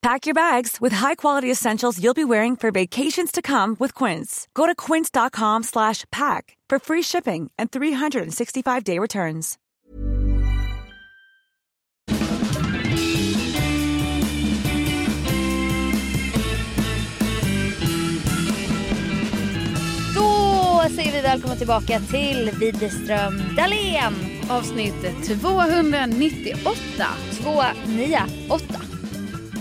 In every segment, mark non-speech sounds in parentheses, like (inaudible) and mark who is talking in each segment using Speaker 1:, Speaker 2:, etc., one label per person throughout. Speaker 1: Pack your bags with high-quality essentials you'll be wearing for vacations to come with Quince. Go to quince.com slash pack for free shipping and 365-day returns.
Speaker 2: Då säger vi välkomna tillbaka till Widerström Dahlén.
Speaker 3: Avsnitt 298.
Speaker 2: 298.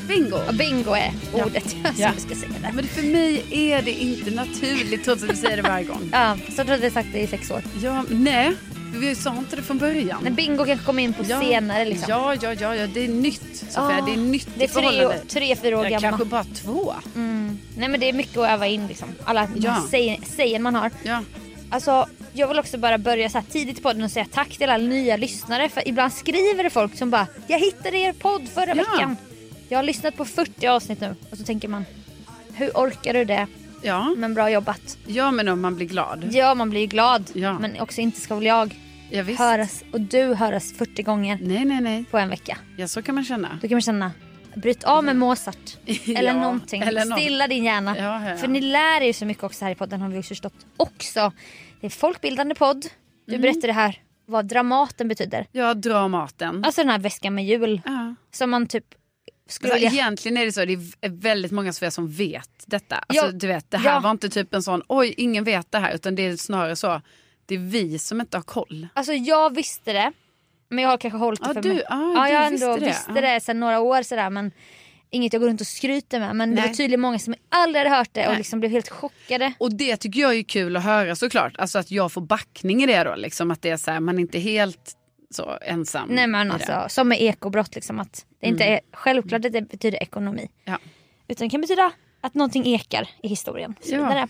Speaker 3: Bingo!
Speaker 2: Bingo är ordet jag
Speaker 3: Ja.
Speaker 2: som ska säga det.
Speaker 3: Men för mig är det inte naturligt trots att vi säger det varje gång.
Speaker 2: (laughs) Ja, så du hade sagt det i sex år.
Speaker 3: Ja, nej, för vi sa inte det från början.
Speaker 2: Men bingo kanske kommer in på senare liksom.
Speaker 3: Ja, ja, ja, ja, det är nytt Sofia.
Speaker 2: Ah,
Speaker 3: det är nytt
Speaker 2: Det
Speaker 3: i
Speaker 2: är tre,
Speaker 3: förhållande.
Speaker 2: tre fyra år Mm.
Speaker 3: Jag
Speaker 2: gammal.
Speaker 3: kanske bara två.
Speaker 2: Nej men det är mycket att öva in liksom. Alla
Speaker 3: Ja.
Speaker 2: säg- sägen man har.
Speaker 3: Ja.
Speaker 2: Alltså, jag vill också bara börja så här tidigt i podden och säga tack till alla nya lyssnare. För ibland skriver det folk som bara “Jag hittade er podd förra
Speaker 3: Ja.
Speaker 2: veckan”. Jag har lyssnat på 40 avsnitt nu och så tänker man “Hur orkar du det?”
Speaker 3: Ja.
Speaker 2: Men bra jobbat.
Speaker 3: ja, men om man blir glad.
Speaker 2: Ja, man blir ju glad.
Speaker 3: Ja.
Speaker 2: Men också inte ska väl jag
Speaker 3: Ja, visst.
Speaker 2: höras och du höras 40 gånger
Speaker 3: Nej, nej, nej.
Speaker 2: på en vecka.
Speaker 3: Ja, så kan man känna.
Speaker 2: Då kan man känna “Bryt av med
Speaker 3: (laughs)
Speaker 2: Mozart” eller
Speaker 3: Ja,
Speaker 2: någonting.
Speaker 3: eller något.
Speaker 2: Stilla din hjärna.
Speaker 3: Ja, ja, ja.
Speaker 2: För ni lär er ju så mycket också här i podden har vi ju förstått också. Det är folkbildande podd. Du
Speaker 3: Mm.
Speaker 2: berättade här vad Dramaten betyder.
Speaker 3: Ja, dra maten.
Speaker 2: Alltså den här väskan med hjul
Speaker 3: Ja.
Speaker 2: som man typ skulle
Speaker 3: Alltså,
Speaker 2: vilja...
Speaker 3: egentligen är det så, det är väldigt många Sofia som vet detta. Alltså,
Speaker 2: Ja,
Speaker 3: du vet, det här
Speaker 2: ja.
Speaker 3: var inte typ en sån, oj ingen vet det här, utan det är snarare så, det är vi som inte har koll.
Speaker 2: Alltså jag visste det. Men jag har kanske hållit det
Speaker 3: Ja,
Speaker 2: för
Speaker 3: du-
Speaker 2: mig.
Speaker 3: ja, du
Speaker 2: jag
Speaker 3: visste
Speaker 2: ändå
Speaker 3: det.
Speaker 2: visste
Speaker 3: Ja.
Speaker 2: det sedan några år sådär men inget jag går runt och skryter med. Men det
Speaker 3: Nej.
Speaker 2: var tydligen många som aldrig hade hört det och
Speaker 3: Nej.
Speaker 2: liksom blev helt chockade.
Speaker 3: Och det tycker jag är kul att höra såklart, alltså att jag får backning i det då, liksom, att det är så här, man är inte helt så ensam.
Speaker 2: Nej
Speaker 3: i
Speaker 2: men
Speaker 3: det.
Speaker 2: alltså som med ekobrott liksom att det
Speaker 3: Mm.
Speaker 2: inte är självklart att det betyder ekonomi.
Speaker 3: Ja.
Speaker 2: Utan det kan betyda att någonting ekar i historien. och Så
Speaker 3: Ja.
Speaker 2: vidare.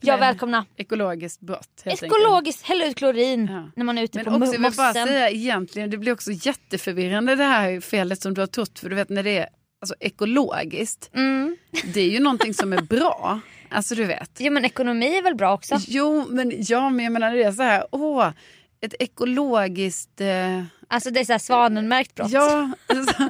Speaker 2: Jag
Speaker 3: Men-
Speaker 2: välkomnar.
Speaker 3: Ekologiskt brott helt enkelt.
Speaker 2: Ekologiskt, häll ut klorin
Speaker 3: Ja.
Speaker 2: när man är ute
Speaker 3: Men
Speaker 2: på
Speaker 3: också,
Speaker 2: mo-
Speaker 3: jag vill bara
Speaker 2: mossen.
Speaker 3: säga egentligen, det blir också jätteförvirrande det här felet som du har trott, för du vet när det är alltså, ekologiskt,
Speaker 2: Mm.
Speaker 3: det är ju någonting
Speaker 2: (laughs)
Speaker 3: som är bra. Alltså du vet.
Speaker 2: Jo men ekonomi är väl bra också?
Speaker 3: Jo, men, ja, men jag menar det är så här, åh, ett ekologiskt... Eh,
Speaker 2: Alltså det är såhär svanenmärkt brott.
Speaker 3: ja, alltså,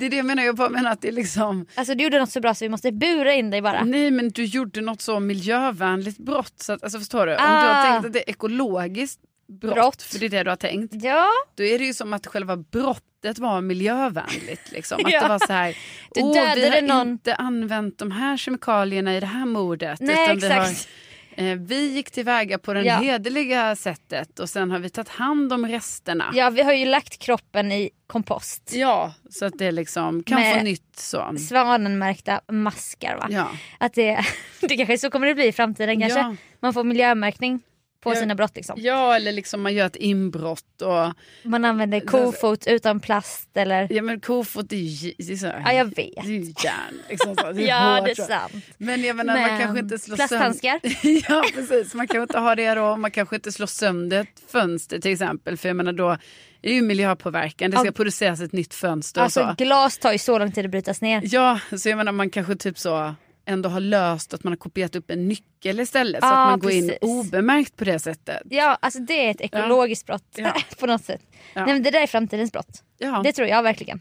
Speaker 3: det är det jag menar. Jag bara menar att det är liksom...
Speaker 2: Alltså du gjorde något så bra så vi måste bura in dig bara.
Speaker 3: Nej, men du gjorde något så miljövänligt brott. Så att, alltså, förstår du? Om du
Speaker 2: Ah.
Speaker 3: har tänkt att det är ekologiskt brott,
Speaker 2: Brott.
Speaker 3: för det är det du har tänkt,
Speaker 2: Ja,
Speaker 3: då är det ju som att själva brottet var miljövänligt. Liksom.
Speaker 2: (laughs)
Speaker 3: Att
Speaker 2: Ja.
Speaker 3: det var så här,
Speaker 2: Du
Speaker 3: åh, vi
Speaker 2: dödade
Speaker 3: har
Speaker 2: någon."
Speaker 3: inte använt de här kemikalierna i det här mordet.
Speaker 2: nej
Speaker 3: utan Vi har,
Speaker 2: exakt.
Speaker 3: Eh, Vi gick tillväga på det
Speaker 2: Ja.
Speaker 3: hederliga sättet och sen har vi tagit hand om resterna.
Speaker 2: Ja vi har ju lagt kroppen i kompost.
Speaker 3: Ja, så att det liksom kan
Speaker 2: Med-
Speaker 3: få nytt så.
Speaker 2: Svanenmärkta maskar va?
Speaker 3: Ja.
Speaker 2: Att det, (laughs) det kanske så kommer det bli i framtiden kanske.
Speaker 3: Ja.
Speaker 2: Man får miljömärkning på
Speaker 3: Ja.
Speaker 2: sina brott liksom.
Speaker 3: ja, eller liksom man gör ett inbrott och
Speaker 2: Man använder kofot utan plast eller...
Speaker 3: ja, men kofot är ju det är så här,
Speaker 2: Ja jag vet.
Speaker 3: det är ju järn. Liksom, så. Det
Speaker 2: (laughs)
Speaker 3: är
Speaker 2: Ja
Speaker 3: hårt,
Speaker 2: det är
Speaker 3: så.
Speaker 2: sant.
Speaker 3: Men jag menar
Speaker 2: Men
Speaker 3: man kanske inte slår
Speaker 2: plasthandskar?
Speaker 3: sönder... (laughs) ja precis, man kanske inte har det då. Man kanske inte slår sönder ett fönster till exempel. För jag menar då är det ju miljöpåverkan. Det ska
Speaker 2: Ja.
Speaker 3: produceras ett nytt fönster och så.
Speaker 2: Alltså glas tar ju så lång tid att brytas ner.
Speaker 3: Ja, så jag menar man kanske typ så ändå har löst att man har kopierat upp en nyckel istället. så
Speaker 2: Ja,
Speaker 3: att man går in
Speaker 2: precis.
Speaker 3: obemärkt på det sättet.
Speaker 2: Ja, alltså det är ett ekologiskt brott
Speaker 3: Ja.
Speaker 2: (laughs) på något sätt.
Speaker 3: Ja.
Speaker 2: Nej men det där är framtidens brott.
Speaker 3: Ja,
Speaker 2: Det tror jag verkligen.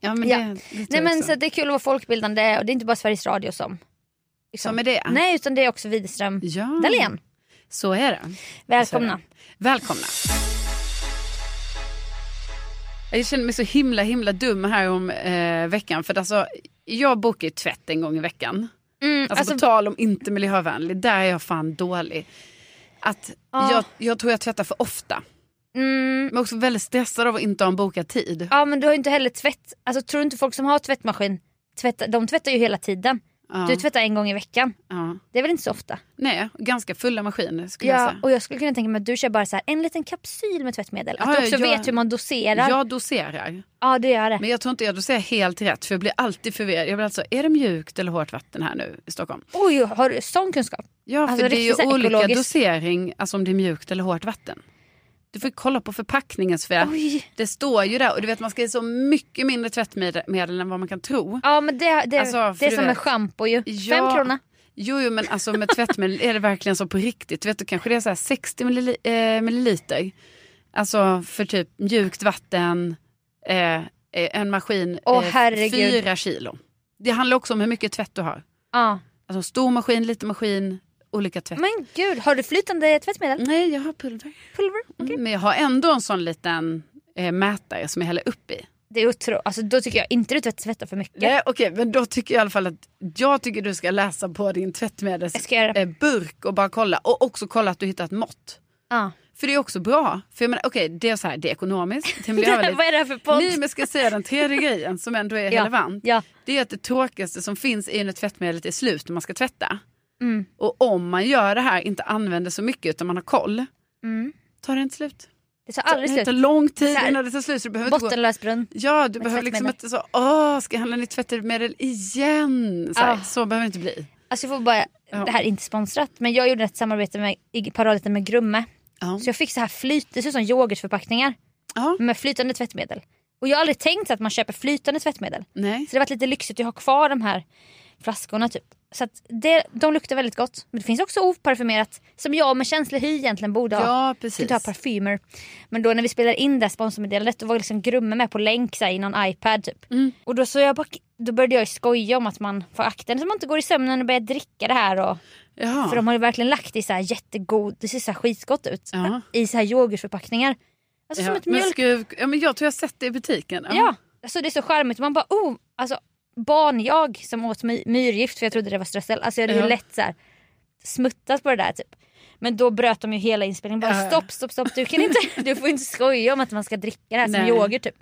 Speaker 3: ja men
Speaker 2: ja.
Speaker 3: det, det tror
Speaker 2: Nej men
Speaker 3: jag
Speaker 2: så att det är kul att vara folkbildande och det är inte bara Sveriges Radio som.
Speaker 3: också. Som är det.
Speaker 2: Nej utan det är också Widerström
Speaker 3: Ja,
Speaker 2: Dahlén.
Speaker 3: så är det.
Speaker 2: Välkomna.
Speaker 3: Välkomna. Jag känner mig så himla himla dum här om eh, veckan. För att alltså, jag bokar ju tvätt en gång i veckan.
Speaker 2: Mm,
Speaker 3: Alltså,
Speaker 2: alltså,
Speaker 3: på tal om inte miljövänlig, där är jag fan dålig. Att
Speaker 2: Ja.
Speaker 3: jag, jag tror jag tvättar för ofta.
Speaker 2: mm,
Speaker 3: Men också väldigt stressad av att inte ha en bokad tid.
Speaker 2: ja men du har ju inte heller tvätt. Alltså tror du inte folk som har tvättmaskin, tvättar, de tvättar ju hela tiden.
Speaker 3: Ja,
Speaker 2: Du tvättar en gång i veckan.
Speaker 3: ja.
Speaker 2: Det är väl inte så ofta?
Speaker 3: Nej, ganska fulla maskiner skulle jag
Speaker 2: Ja,
Speaker 3: säga.
Speaker 2: och jag skulle kunna tänka mig att du kör bara så här, en liten kapsyl med tvättmedel. Att
Speaker 3: Ja,
Speaker 2: du också
Speaker 3: jag-
Speaker 2: vet hur man doserar. Ja,
Speaker 3: Jag doserar.
Speaker 2: det gör det.
Speaker 3: Men jag tror inte jag doserar helt rätt för jag blir alltid förvirrad. Jag blir alltså, är det mjukt eller hårt vatten här nu i Stockholm?
Speaker 2: Oj, har du sån kunskap?
Speaker 3: Ja,
Speaker 2: Alltså,
Speaker 3: för det
Speaker 2: riktigt så
Speaker 3: är ju
Speaker 2: här
Speaker 3: olika
Speaker 2: ekologiskt.
Speaker 3: dosering, alltså om det är mjukt eller hårt vatten. Du får ju kolla på förpackningen Sofia.
Speaker 2: Oj.
Speaker 3: Det står ju där och du vet man ska ge så mycket mindre tvättmedel än vad man kan tro.
Speaker 2: Ja men det, det,
Speaker 3: Alltså, för
Speaker 2: det är
Speaker 3: du
Speaker 2: som med
Speaker 3: vet-
Speaker 2: schampo ju.
Speaker 3: Ja.
Speaker 2: Fem kronor.
Speaker 3: Jo, jo men alltså med tvättmedel är det verkligen så på riktigt. Du vet, då kanske det är så här 60 millil- eh, milliliter. Alltså för typ mjukt vatten, eh, eh, en maskin, eh,
Speaker 2: Åh, herregud.
Speaker 3: fyra kilo. Det handlar också om hur mycket tvätt du har.
Speaker 2: Ja.
Speaker 3: Alltså stor maskin, liten maskin, olika tvätt.
Speaker 2: Men gud, har du flytande tvättmedel?
Speaker 3: Nej, jag har pulver.
Speaker 2: Pulver? Okej.
Speaker 3: Men jag har ändå en sån liten eh, mätare som jag häller upp i.
Speaker 2: Det är otro... alltså, då tycker jag inte du tvätt- tvättar för mycket.
Speaker 3: Nej, okej, men då tycker jag i alla fall att jag tycker du ska läsa på din
Speaker 2: Jag ska göra det.
Speaker 3: tvättmedelsburk och bara kolla. Och också kolla att du hittat mått.
Speaker 2: Ja.
Speaker 3: För det är också bra. För jag menar, okej, det är så här, det är ekonomiskt, det är
Speaker 2: (laughs)
Speaker 3: miljövänligt.
Speaker 2: Vad är det här för podd?
Speaker 3: Nej, men jag ska säga den tredje grejen som ändå är
Speaker 2: Ja,
Speaker 3: relevant.
Speaker 2: ja.
Speaker 3: Det är att det tråkigaste som finns är när tvättmedlet är slut och man ska tvätta.
Speaker 2: Mm.
Speaker 3: Och om man gör det här, inte använder så mycket utan man har koll,
Speaker 2: Mm.
Speaker 3: tar det inte slut.
Speaker 2: Det tar
Speaker 3: Alltså, Det
Speaker 2: aldrig
Speaker 3: tar
Speaker 2: slut.
Speaker 3: lång tid
Speaker 2: Så här,
Speaker 3: innan det tar slut. Så du behöver inte gå...
Speaker 2: Bottenlös brunn.
Speaker 3: Ja, du
Speaker 2: med
Speaker 3: behöver liksom
Speaker 2: tvättmedel.
Speaker 3: inte så, åh, ska jag handla nytt tvättmedel igen? Så, här,
Speaker 2: Ah.
Speaker 3: så behöver det inte bli.
Speaker 2: Alltså jag får bara,
Speaker 3: Ja.
Speaker 2: det här är inte sponsrat men jag gjorde ett samarbete med, i parallellen med Grumme.
Speaker 3: Ja.
Speaker 2: Så jag fick så här flyt, det ser ut som yoghurtförpackningar
Speaker 3: Ja.
Speaker 2: med flytande tvättmedel. Och jag har aldrig tänkt att man köper flytande tvättmedel.
Speaker 3: Nej.
Speaker 2: Så det har varit lite lyxigt att ha kvar de här flaskorna typ. Så att det, de luktar väldigt gott. Men det finns också oparfymerat som jag med känslig hy egentligen borde ha.
Speaker 3: Ja,
Speaker 2: Jag ska
Speaker 3: precis.
Speaker 2: inte ha parfymer. Men då när vi spelade in det här sponsormeddelandet då var liksom Grumme med på länk så här, i någon iPad typ.
Speaker 3: Mm.
Speaker 2: Och då, så jag bara, då började jag ju skoja om att man får akta sig så man inte går i sömnen och börjar dricka det här. Och,
Speaker 3: Jaha.
Speaker 2: För de har ju verkligen lagt i så här jättegod, det ser så här skitgott ut.
Speaker 3: Ja.
Speaker 2: I så här yoghurtförpackningar. Alltså
Speaker 3: ja.
Speaker 2: som ett
Speaker 3: men
Speaker 2: mjölk.
Speaker 3: sku... ja, men jag tror jag har sett det i butiken.
Speaker 2: Ja, alltså det är så charmigt. Man bara oh, alltså barn jag som åt my- myrgift för jag trodde det var strössel. Alltså jag hade
Speaker 3: Ja.
Speaker 2: ju lätt så här smuttat på det där typ. Men då bröt de ju hela inspelningen. Bara
Speaker 3: Ja.
Speaker 2: stopp, stopp, stopp. Du, kan inte, du får inte skoja om att man ska dricka det här
Speaker 3: Nej.
Speaker 2: som yoghurt typ.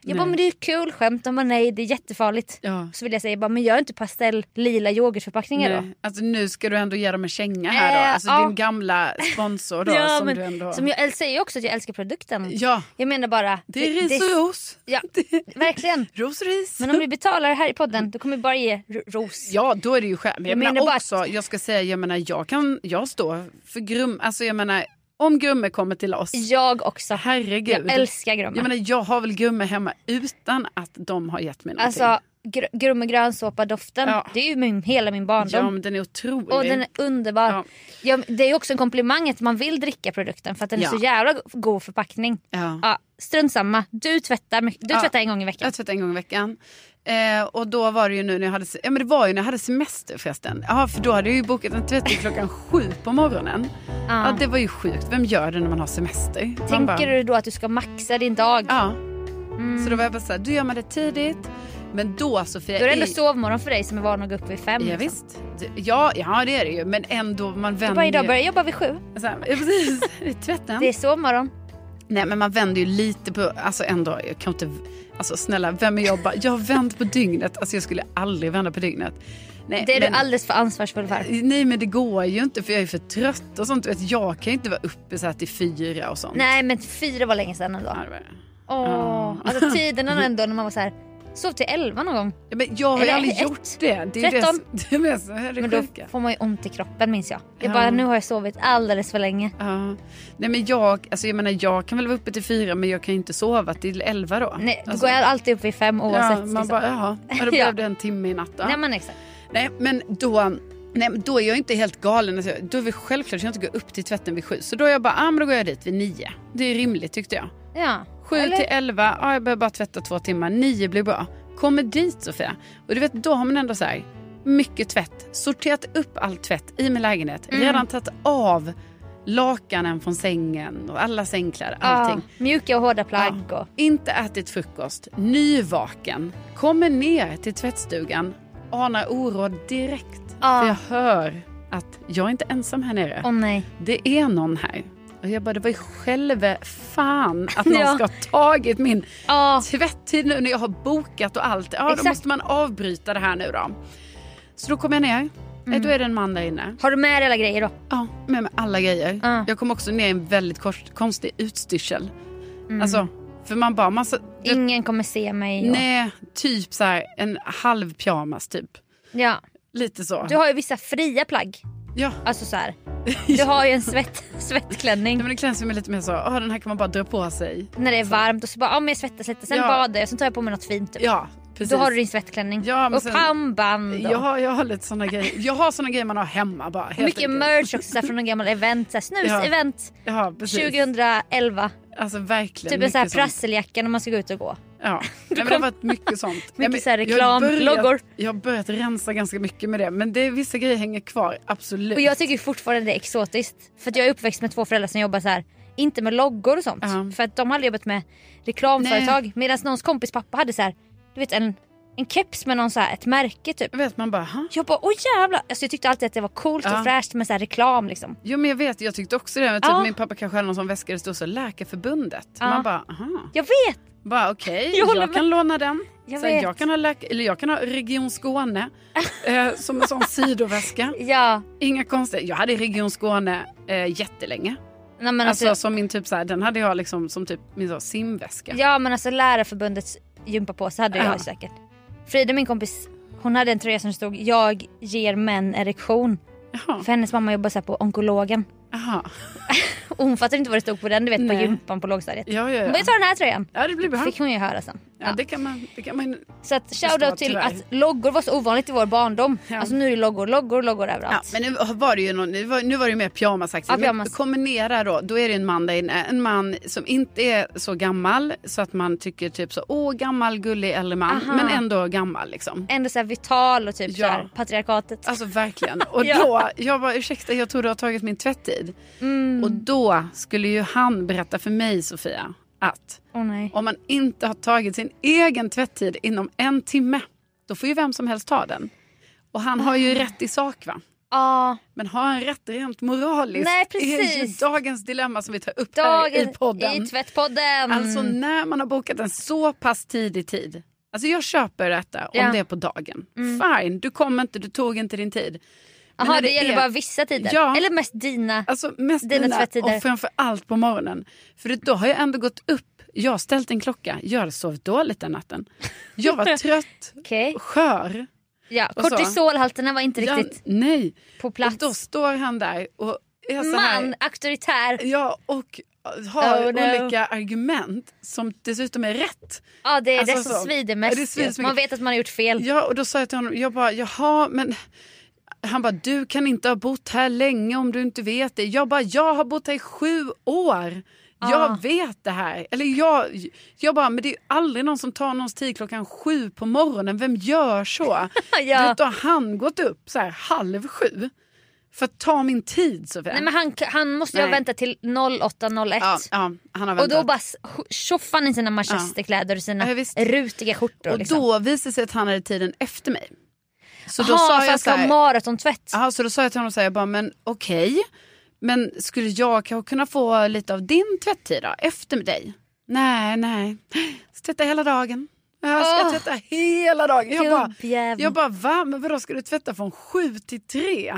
Speaker 2: Jag bara
Speaker 3: Nej.
Speaker 2: men det är ju kul skämt. De bara nej det är jättefarligt.
Speaker 3: Ja.
Speaker 2: Så vill jag säga bara men gör inte pastell lila yoghurtförpackningar då.
Speaker 3: Nej. Alltså, nu ska du ändå ge dem en känga här då.
Speaker 2: Eh,
Speaker 3: Alltså,
Speaker 2: ja.
Speaker 3: Din gamla sponsor då.
Speaker 2: (laughs) Ja,
Speaker 3: som
Speaker 2: men,
Speaker 3: du ändå...
Speaker 2: som jag äl- säger ju också att jag älskar produkten.
Speaker 3: Ja,
Speaker 2: Jag menar bara.
Speaker 3: det är ris och ros.
Speaker 2: Ja, verkligen.
Speaker 3: Ros och ris.
Speaker 2: Men om vi betalar här i podden då kommer vi bara ge ro- ros.
Speaker 3: Ja, då är det ju skämt. Men Jag,
Speaker 2: Jag
Speaker 3: menar,
Speaker 2: menar bara
Speaker 3: också, jag ska säga, jag menar, jag kan, jag står för grum, alltså jag menar, om Grumme kommer till oss,
Speaker 2: Jag också.
Speaker 3: herregud.
Speaker 2: Jag älskar Grumme.
Speaker 3: Jag menar, jag har väl Grumme hemma utan att de har gett mig någonting.
Speaker 2: alltså gr- Grumme grönsåpa-doften,
Speaker 3: Ja.
Speaker 2: det är ju min, hela min
Speaker 3: ja,
Speaker 2: barndom.
Speaker 3: men den är otrolig.
Speaker 2: och den är underbar.
Speaker 3: Ja.
Speaker 2: Ja. men det är ju också en komplimang att man vill dricka produkten för att den
Speaker 3: Ja.
Speaker 2: är så jävla go- god förpackning.
Speaker 3: ja.
Speaker 2: Ja, strunt samma, du tvättar, mycket- du
Speaker 3: Ja.
Speaker 2: tvättar en gång i veckan.
Speaker 3: Jag tvättar en gång i veckan. Eh, och då var det ju nu när jag hade, se- ja, men det var ju när jag hade semester förresten. Ja, för då hade jag ju bokat en tvätt
Speaker 2: (laughs)
Speaker 3: till klockan sju på morgonen. Ja. det var ju sjukt. Vem gör det när man har semester? Man
Speaker 2: Tänker
Speaker 3: bara-
Speaker 2: du då att du ska maxa din dag?
Speaker 3: Ja. Så då var jag bara såhär, du gör man det tidigt. Men då Sofia.
Speaker 2: Då är det ändå
Speaker 3: i-
Speaker 2: sovmorgon för dig som är van att gå upp vid fem.
Speaker 3: Ja,
Speaker 2: liksom.
Speaker 3: visst. Det- Ja, ja, det är det ju. Men ändå, man
Speaker 2: Du
Speaker 3: vänder
Speaker 2: bara idag
Speaker 3: ju-
Speaker 2: börjar jag jobba vid sju.
Speaker 3: Så här, ja, precis. (laughs) Det är Tvätten.
Speaker 2: Det är sovmorgon.
Speaker 3: Nej, men man vänder ju lite på... Alltså ändå, jag kan inte... Alltså snälla, vem är jag? Bara, jag har vänt på dygnet. Alltså jag skulle aldrig vända på dygnet. Nej,
Speaker 2: Det är
Speaker 3: men,
Speaker 2: du alldeles för ansvarsfull för.
Speaker 3: Nej, men det går ju inte för jag är för trött och sånt. Du vet, jag kan ju inte vara uppe så här till fyra och sånt.
Speaker 2: Nej men fyra var länge sedan ändå.
Speaker 3: Ja, det var det.
Speaker 2: Åh, alltså tiderna ändå när man var så här. sov till elva någon gång.
Speaker 3: Ja, men jag har ju
Speaker 2: Eller
Speaker 3: aldrig
Speaker 2: ett.
Speaker 3: gjort det. Det är ju det, som- (laughs) det, är det som är det
Speaker 2: Men då
Speaker 3: sjuka.
Speaker 2: får man ju ont i kroppen minns jag. Jag
Speaker 3: Ja.
Speaker 2: bara, nu har jag sovit alldeles för länge.
Speaker 3: Ja. Nej men jag, alltså jag menar jag kan väl vara uppe till fyra men jag kan ju inte sova till elva då.
Speaker 2: Nej, då
Speaker 3: alltså,
Speaker 2: går jag alltid upp vid fem oavsett.
Speaker 3: ja, man
Speaker 2: liksom.
Speaker 3: bara, jaha,
Speaker 2: (laughs)
Speaker 3: ja, då
Speaker 2: Ja.
Speaker 3: blev det en timme i natt då.
Speaker 2: Nej men exakt.
Speaker 3: Nej, men då... Nej, men då är jag inte helt galen. Alltså, då är det självklart att jag inte går upp till tvätten vid sju. Så då är jag bara, ah, men då går jag dit vid nio. Det är rimligt tyckte jag.
Speaker 2: Ja.
Speaker 3: Sju
Speaker 2: Eller-
Speaker 3: till elva, ja, jag behöver bara tvätta två timmar. Nio blir bra. Kommer dit Sofia. Och du vet, då har man ändå så här, mycket tvätt. Sorterat upp all tvätt i min lägenhet. Redan tagit av lakanen från sängen och alla sängkläder.
Speaker 2: Ah.
Speaker 3: Allting.
Speaker 2: Ja, mjuka och hårda plagg.
Speaker 3: Ja.
Speaker 2: Och,
Speaker 3: Inte ätit frukost, nyvaken, kommer ner till tvättstugan, anar oråd direkt.
Speaker 2: Ja.
Speaker 3: För jag hör att jag är inte ensam här nere.
Speaker 2: Åh nej.
Speaker 3: Det är någon här. Och jag bara, det var ju själve fan att någon
Speaker 2: Ja.
Speaker 3: ska ha tagit min
Speaker 2: Ja.
Speaker 3: tvätttid nu när jag har bokat och allt. Ja,
Speaker 2: Exakt.
Speaker 3: då måste man avbryta det här nu då. Så då kommer jag ner.
Speaker 2: Mm.
Speaker 3: Eh, Då är det en man där inne.
Speaker 2: Har du med dig alla grejer då?
Speaker 3: Ja, med mig alla grejer.
Speaker 2: Ja.
Speaker 3: Jag kom också ner i en väldigt kors- konstig utstyrsel.
Speaker 2: Mm.
Speaker 3: Alltså, för man bara... Man, så,
Speaker 2: Ingen kommer se mig. Och,
Speaker 3: Nej, typ så här en halv pyjamas typ.
Speaker 2: ja.
Speaker 3: Lite så.
Speaker 2: Du har ju vissa fria plagg.
Speaker 3: Ja.
Speaker 2: Alltså så
Speaker 3: (laughs)
Speaker 2: här. Du har ju en svett, svettklänning.
Speaker 3: Nej, men det känns ju mig lite mer så, åh den här kan man bara dra på sig.
Speaker 2: När det är varmt och så bara, ja men jag svettas lite. Sen
Speaker 3: Ja.
Speaker 2: badar jag, sen tar jag på mig något fint. Typ.
Speaker 3: Ja, precis.
Speaker 2: Då har du liksom din svettklänning.
Speaker 3: Ja, men
Speaker 2: och
Speaker 3: sen-
Speaker 2: pannband. Och
Speaker 3: jag, har, jag har lite såna grejer. Jag har såna grejer man har hemma bara. Helt
Speaker 2: mycket
Speaker 3: enkelt.
Speaker 2: merch också så här, från någon gammal event. Så här, snus
Speaker 3: Ja,
Speaker 2: event
Speaker 3: Ja, precis.
Speaker 2: 2011.
Speaker 3: Alltså verkligen.
Speaker 2: Typ en sån här
Speaker 3: mycket sånt.
Speaker 2: prasseljacka när man ska gå ut och gå. (laughs)
Speaker 3: Ja, Nej, men det har varit mycket sånt. Nej, men
Speaker 2: Mycket så här
Speaker 3: jag har börjat-
Speaker 2: reklamloggor.
Speaker 3: Jag har börjat rensa ganska mycket med det. Men det är, vissa grejer hänger kvar, absolut.
Speaker 2: Och jag tycker fortfarande det är exotiskt. För att jag är uppväxt med två föräldrar som jobbar så här. Inte med loggor och sånt.
Speaker 3: Ja.
Speaker 2: För att de hade jobbat med reklamföretag. Medan någons kompis pappa hade så här, du vet en, en keps med någon så här, ett märke typ.
Speaker 3: vet man bara, ha?
Speaker 2: Jag bara åh jävlar. Alltså jag tyckte alltid att det var coolt och
Speaker 3: Ja.
Speaker 2: fräscht med så här reklam liksom.
Speaker 3: Jo men jag vet, jag tyckte också det. Men typ
Speaker 2: Ja.
Speaker 3: Min pappa kanske hade någon sån väska där det stod så Läkarförbundet.
Speaker 2: Ja.
Speaker 3: Man bara, aha.
Speaker 2: Jag vet!
Speaker 3: Bara okej,
Speaker 2: Jag
Speaker 3: jag,
Speaker 2: håller med.
Speaker 3: kan låna den.
Speaker 2: Jag
Speaker 3: Jag, Sen,
Speaker 2: vet.
Speaker 3: jag, kan, ha läk- eller jag kan ha Region Skåne eh, som en sån sidoväska.
Speaker 2: Ja.
Speaker 3: Inga konstiga. Jag hade Region Skåne eh, jättelänge.
Speaker 2: Nej, men alltså,
Speaker 3: alltså som min typ så här, den hade jag liksom som typ min så, simväska.
Speaker 2: Ja men alltså lärarförbundets gympapåse hade jag
Speaker 3: Ja.
Speaker 2: ju säkert. Frida min kompis hon hade en tröja som stod jag ger män erektion.
Speaker 3: Jaha.
Speaker 2: För hennes mamma jobbar så här på onkologen.
Speaker 3: Jaha.
Speaker 2: Och hon fattade inte vad det stod på den du vet på
Speaker 3: Nej.
Speaker 2: gympan på lågstadiet.
Speaker 3: Ja, ja,
Speaker 2: Hon bara jag
Speaker 3: ja.
Speaker 2: tar den här tröjan.
Speaker 3: ja, det blir bra.
Speaker 2: Fick hon ju höra sen.
Speaker 3: Ja, det kan man. Det kan man.
Speaker 2: Så att
Speaker 3: Förstår,
Speaker 2: shoutout till
Speaker 3: tyvärr.
Speaker 2: att loggor var så ovanligt i vår barndom.
Speaker 3: Ja.
Speaker 2: Alltså nu är det loggor, loggor, loggor
Speaker 3: Ja,
Speaker 2: överallt.
Speaker 3: men nu var det ju någon, nu var, nu var det ju mer pyjamasaktigt.
Speaker 2: Ja,
Speaker 3: men
Speaker 2: pyjamas.
Speaker 3: kombinera då, då är det en man där inne. En man som inte är så gammal så att man tycker typ så, åh gammal gullig äldre man.
Speaker 2: Aha.
Speaker 3: Men ändå gammal liksom.
Speaker 2: Ändå så här vital och typ så
Speaker 3: Ja.
Speaker 2: här patriarkatet.
Speaker 3: Alltså verkligen.
Speaker 2: (laughs)
Speaker 3: Och
Speaker 2: Ja. Mm.
Speaker 3: då, jag bara ursäkta jag tror du har tagit min tvättid. Och då skulle ju han berätta för mig Sofia att
Speaker 2: Åh nej.
Speaker 3: om man inte har tagit sin egen tvättid inom en timme, då får ju vem som helst ta den. Och han har
Speaker 2: Ah.
Speaker 3: ju rätt i sak va?
Speaker 2: Ja.
Speaker 3: Men har han rätt rent moraliskt?
Speaker 2: Nej,
Speaker 3: är ju
Speaker 2: precis.
Speaker 3: dagens dilemma som vi tar upp här i
Speaker 2: Dagen
Speaker 3: podden.
Speaker 2: i tvättpodden.
Speaker 3: Alltså när man har bokat en så pass tidig tid. Alltså jag köper detta om
Speaker 2: Ja.
Speaker 3: det är på dagen. Fine, du kom inte, du tog inte din tid. Men
Speaker 2: Jaha
Speaker 3: när
Speaker 2: det, gäller
Speaker 3: är-
Speaker 2: bara vissa tider?
Speaker 3: Ja.
Speaker 2: Eller mest dina?
Speaker 3: Alltså mest
Speaker 2: Dina
Speaker 3: dina,
Speaker 2: tvättider.
Speaker 3: och framför allt på morgonen. För då har jag ändå gått upp, jag har ställt en klocka, jag hade sovit dåligt den natten. Jag
Speaker 2: (laughs)
Speaker 3: var trött,
Speaker 2: Okej.
Speaker 3: skör.
Speaker 2: Ja,
Speaker 3: Och så.
Speaker 2: kortisolhalterna var inte riktigt
Speaker 3: Jag, nej.
Speaker 2: på
Speaker 3: Och
Speaker 2: plats.
Speaker 3: då står han där och är så här.
Speaker 2: Man, auktoritär.
Speaker 3: Ja, och har
Speaker 2: Oh, no.
Speaker 3: olika argument som dessutom är rätt.
Speaker 2: Ja, det är
Speaker 3: Alltså
Speaker 2: det som
Speaker 3: så.
Speaker 2: svider
Speaker 3: Ja, det
Speaker 2: mest.
Speaker 3: svider
Speaker 2: ju.
Speaker 3: så mycket.
Speaker 2: man vet att man har gjort fel.
Speaker 3: Ja, och då sa jag till honom, jag bara, jaha, men... Han bara, du kan inte ha bott här länge om du inte vet det. Jag bara, jag har bott här i sju år. Jag
Speaker 2: Ah.
Speaker 3: vet det här. Eller jag, jag bara, men det är ju aldrig någon som tar någons tid klockan sju på morgonen. Vem
Speaker 2: (laughs)
Speaker 3: gör så?
Speaker 2: Ja.
Speaker 3: Du vet, då har han gått upp så här halv sju för att ta min tid, Sofia.
Speaker 2: Nej, men han, han måste ju ha
Speaker 3: Nej.
Speaker 2: väntat till 08.01.
Speaker 3: ja, ja, han har
Speaker 2: och då
Speaker 3: väntat.
Speaker 2: bara s- tjoffar han i sina manchesterkläder och sina
Speaker 3: Ja, visst.
Speaker 2: rutiga skjortor.
Speaker 3: Och
Speaker 2: liksom.
Speaker 3: då visade det sig att han hade tiden efter mig. Så då
Speaker 2: Jaha,
Speaker 3: sa
Speaker 2: för
Speaker 3: jag
Speaker 2: han
Speaker 3: så
Speaker 2: ska ha
Speaker 3: här,
Speaker 2: maratontvätt.
Speaker 3: aha, så då sa jag till honom så här, jag bara, men okej, men skulle jag kanske kunna få lite av din tvättid då, efter dig? Nej, nej, jag ska tvätta hela dagen. Jag ska
Speaker 2: Åh.
Speaker 3: tvätta hela dagen. Jag bara,
Speaker 2: Gubbjäveln.
Speaker 3: jag bara, va? Men vadå, ska du tvätta från sju till tre?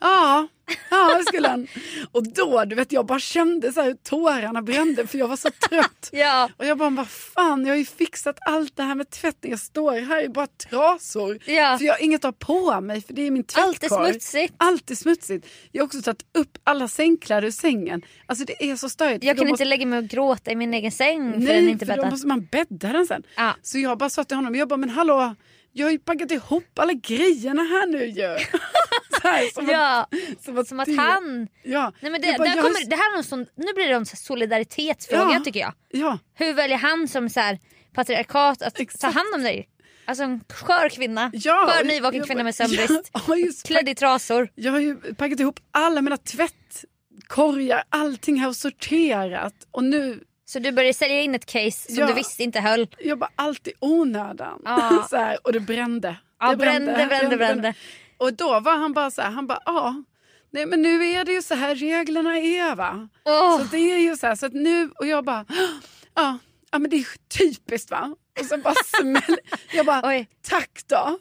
Speaker 3: Ja, ja det
Speaker 2: (laughs)
Speaker 3: skulle han. Och då, du vet, jag bara kände så här hur tårarna brände för jag var så trött.
Speaker 2: (laughs) Ja.
Speaker 3: Och jag bara, vad fan, jag har ju fixat allt det här med tvätten. Jag står här i bara trasor.
Speaker 2: Ja.
Speaker 3: För jag har inget att ha på mig, för det är min tvättkorg.
Speaker 2: Allt är smutsigt.
Speaker 3: Allt är smutsigt. Jag har också tagit upp alla sängkläder ur sängen. Alltså det är så störigt.
Speaker 2: Jag
Speaker 3: För då
Speaker 2: kan inte
Speaker 3: måste-
Speaker 2: lägga mig och gråta i min egen säng för
Speaker 3: Nej,
Speaker 2: den är inte
Speaker 3: för då
Speaker 2: bäddad.
Speaker 3: måste man bädda den sen.
Speaker 2: Ja.
Speaker 3: Så jag bara sa till honom, jag bara, men hallå, jag har ju packat ihop alla grejerna här nu ju. (laughs) så här, som
Speaker 2: ja,
Speaker 3: att, som att,
Speaker 2: som att
Speaker 3: det-
Speaker 2: han...
Speaker 3: Ja.
Speaker 2: Nej, men det,
Speaker 3: Jag bara,
Speaker 2: där
Speaker 3: jag har
Speaker 2: kommer,
Speaker 3: s-
Speaker 2: det här är en sån, nu blir det en sån solidaritetsfråga
Speaker 3: Ja.
Speaker 2: tycker jag.
Speaker 3: ja.
Speaker 2: Hur väljer han som så här, patriarkat att ta
Speaker 3: Exakt.
Speaker 2: hand om dig? Alltså en skör kvinna.
Speaker 3: Ja,
Speaker 2: skör
Speaker 3: och-
Speaker 2: nyvaken
Speaker 3: jag
Speaker 2: kvinna
Speaker 3: bara- (laughs)
Speaker 2: med sömnbrist.
Speaker 3: Ja, just,
Speaker 2: Klädd i trasor.
Speaker 3: Jag har ju packat ihop alla mina tvättkorgar, allting här och sorterat. Och nu,
Speaker 2: Så du började sälja in ett case som
Speaker 3: Ja.
Speaker 2: du visste inte höll.
Speaker 3: jag bara allt i onödan.
Speaker 2: Ja.
Speaker 3: (laughs) så här, och det brände.
Speaker 2: Ja,
Speaker 3: det
Speaker 2: brände, brände, brände.
Speaker 3: Och då var han bara så här, han bara ja. Nej men nu är det ju så här reglerna är va.
Speaker 2: Åh.
Speaker 3: Så det är ju så här, så att nu, och jag bara ja, ja men det är typiskt va. Och sen bara (laughs) smäller, jag bara
Speaker 2: Oj,
Speaker 3: tack då.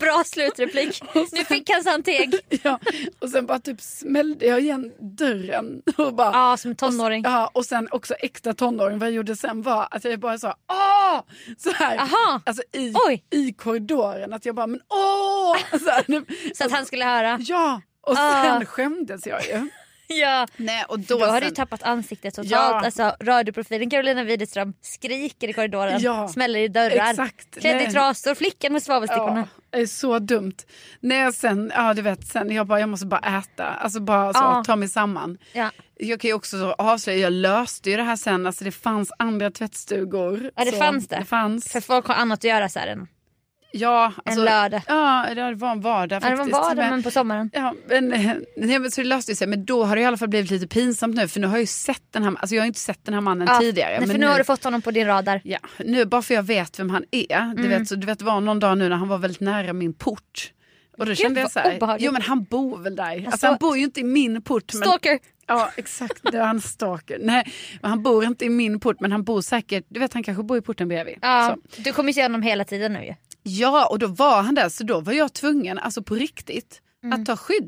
Speaker 2: bra slutreplik. Nu fick han santeg.
Speaker 3: Ja, och sen bara typ smällde jag igen dörren. Och bara,
Speaker 2: Ja, som tonåring.
Speaker 3: Ja, och sen också äkta tonåring. Vad jag gjorde sen var att jag bara sa åh! Så här.
Speaker 2: Aha.
Speaker 3: Alltså i,
Speaker 2: Oj.
Speaker 3: i korridoren. Att jag bara men åh! (laughs) Så här, nu,
Speaker 2: Så att han skulle höra.
Speaker 3: ja, och
Speaker 2: Ah.
Speaker 3: sen skämdes jag ju.
Speaker 2: Ja.
Speaker 3: Nej, och
Speaker 2: Då har du ju tappat ansiktet totalt.
Speaker 3: Ja.
Speaker 2: Alltså, radioprofilen Carolina Widerström skriker i korridoren,
Speaker 3: Ja.
Speaker 2: smäller i dörrar,
Speaker 3: Exakt.
Speaker 2: klädd i
Speaker 3: Nej.
Speaker 2: trasor, flickan med svavelstickorna.
Speaker 3: Ja, det är så dumt. Nej, sen, ja du vet, sen jag bara jag måste bara äta. Alltså bara så,
Speaker 2: Ja.
Speaker 3: ta mig samman.
Speaker 2: Ah. Ja.
Speaker 3: Jag kan ju också så avslöja, jag löste ju det här sen. Alltså det fanns andra tvättstugor.
Speaker 2: Ja, det
Speaker 3: så,
Speaker 2: fanns det.
Speaker 3: Det fanns.
Speaker 2: För folk har annat att göra så här än
Speaker 3: Ja, alltså,
Speaker 2: en lördag.
Speaker 3: Ja, det var en vardag
Speaker 2: Ja, det
Speaker 3: faktiskt.
Speaker 2: var vardag
Speaker 3: Men-
Speaker 2: men på sommaren.
Speaker 3: Ja, men, (laughs) eh, nej, men så det löste ju sig. Men då har det i alla fall blivit lite pinsamt nu. För nu har jag ju sett den här, alltså jag har ju inte sett den här mannen
Speaker 2: Ja,
Speaker 3: tidigare.
Speaker 2: nej,
Speaker 3: men
Speaker 2: för nu har du fått honom på din radar.
Speaker 3: Ja, nu bara för jag vet vem han är.
Speaker 2: Mm.
Speaker 3: Du, vet, så, du vet, det var någon dag nu när han var väldigt nära min port. Och då kände jag
Speaker 2: vad
Speaker 3: så här,
Speaker 2: obehagligt.
Speaker 3: jo men han bor väl där. Alltså,
Speaker 2: står-
Speaker 3: han bor ju inte i min port. Men,
Speaker 2: Stalker!
Speaker 3: Ja exakt, det var han stalker. Nej, men han bor inte i min port men han bor säkert, du vet han kanske bor i porten bredvid.
Speaker 2: Ja,
Speaker 3: Så.
Speaker 2: du kommer ju se honom hela tiden nu ju.
Speaker 3: Ja, och då var han där, så då var jag tvungen, alltså på riktigt, att ta skydd.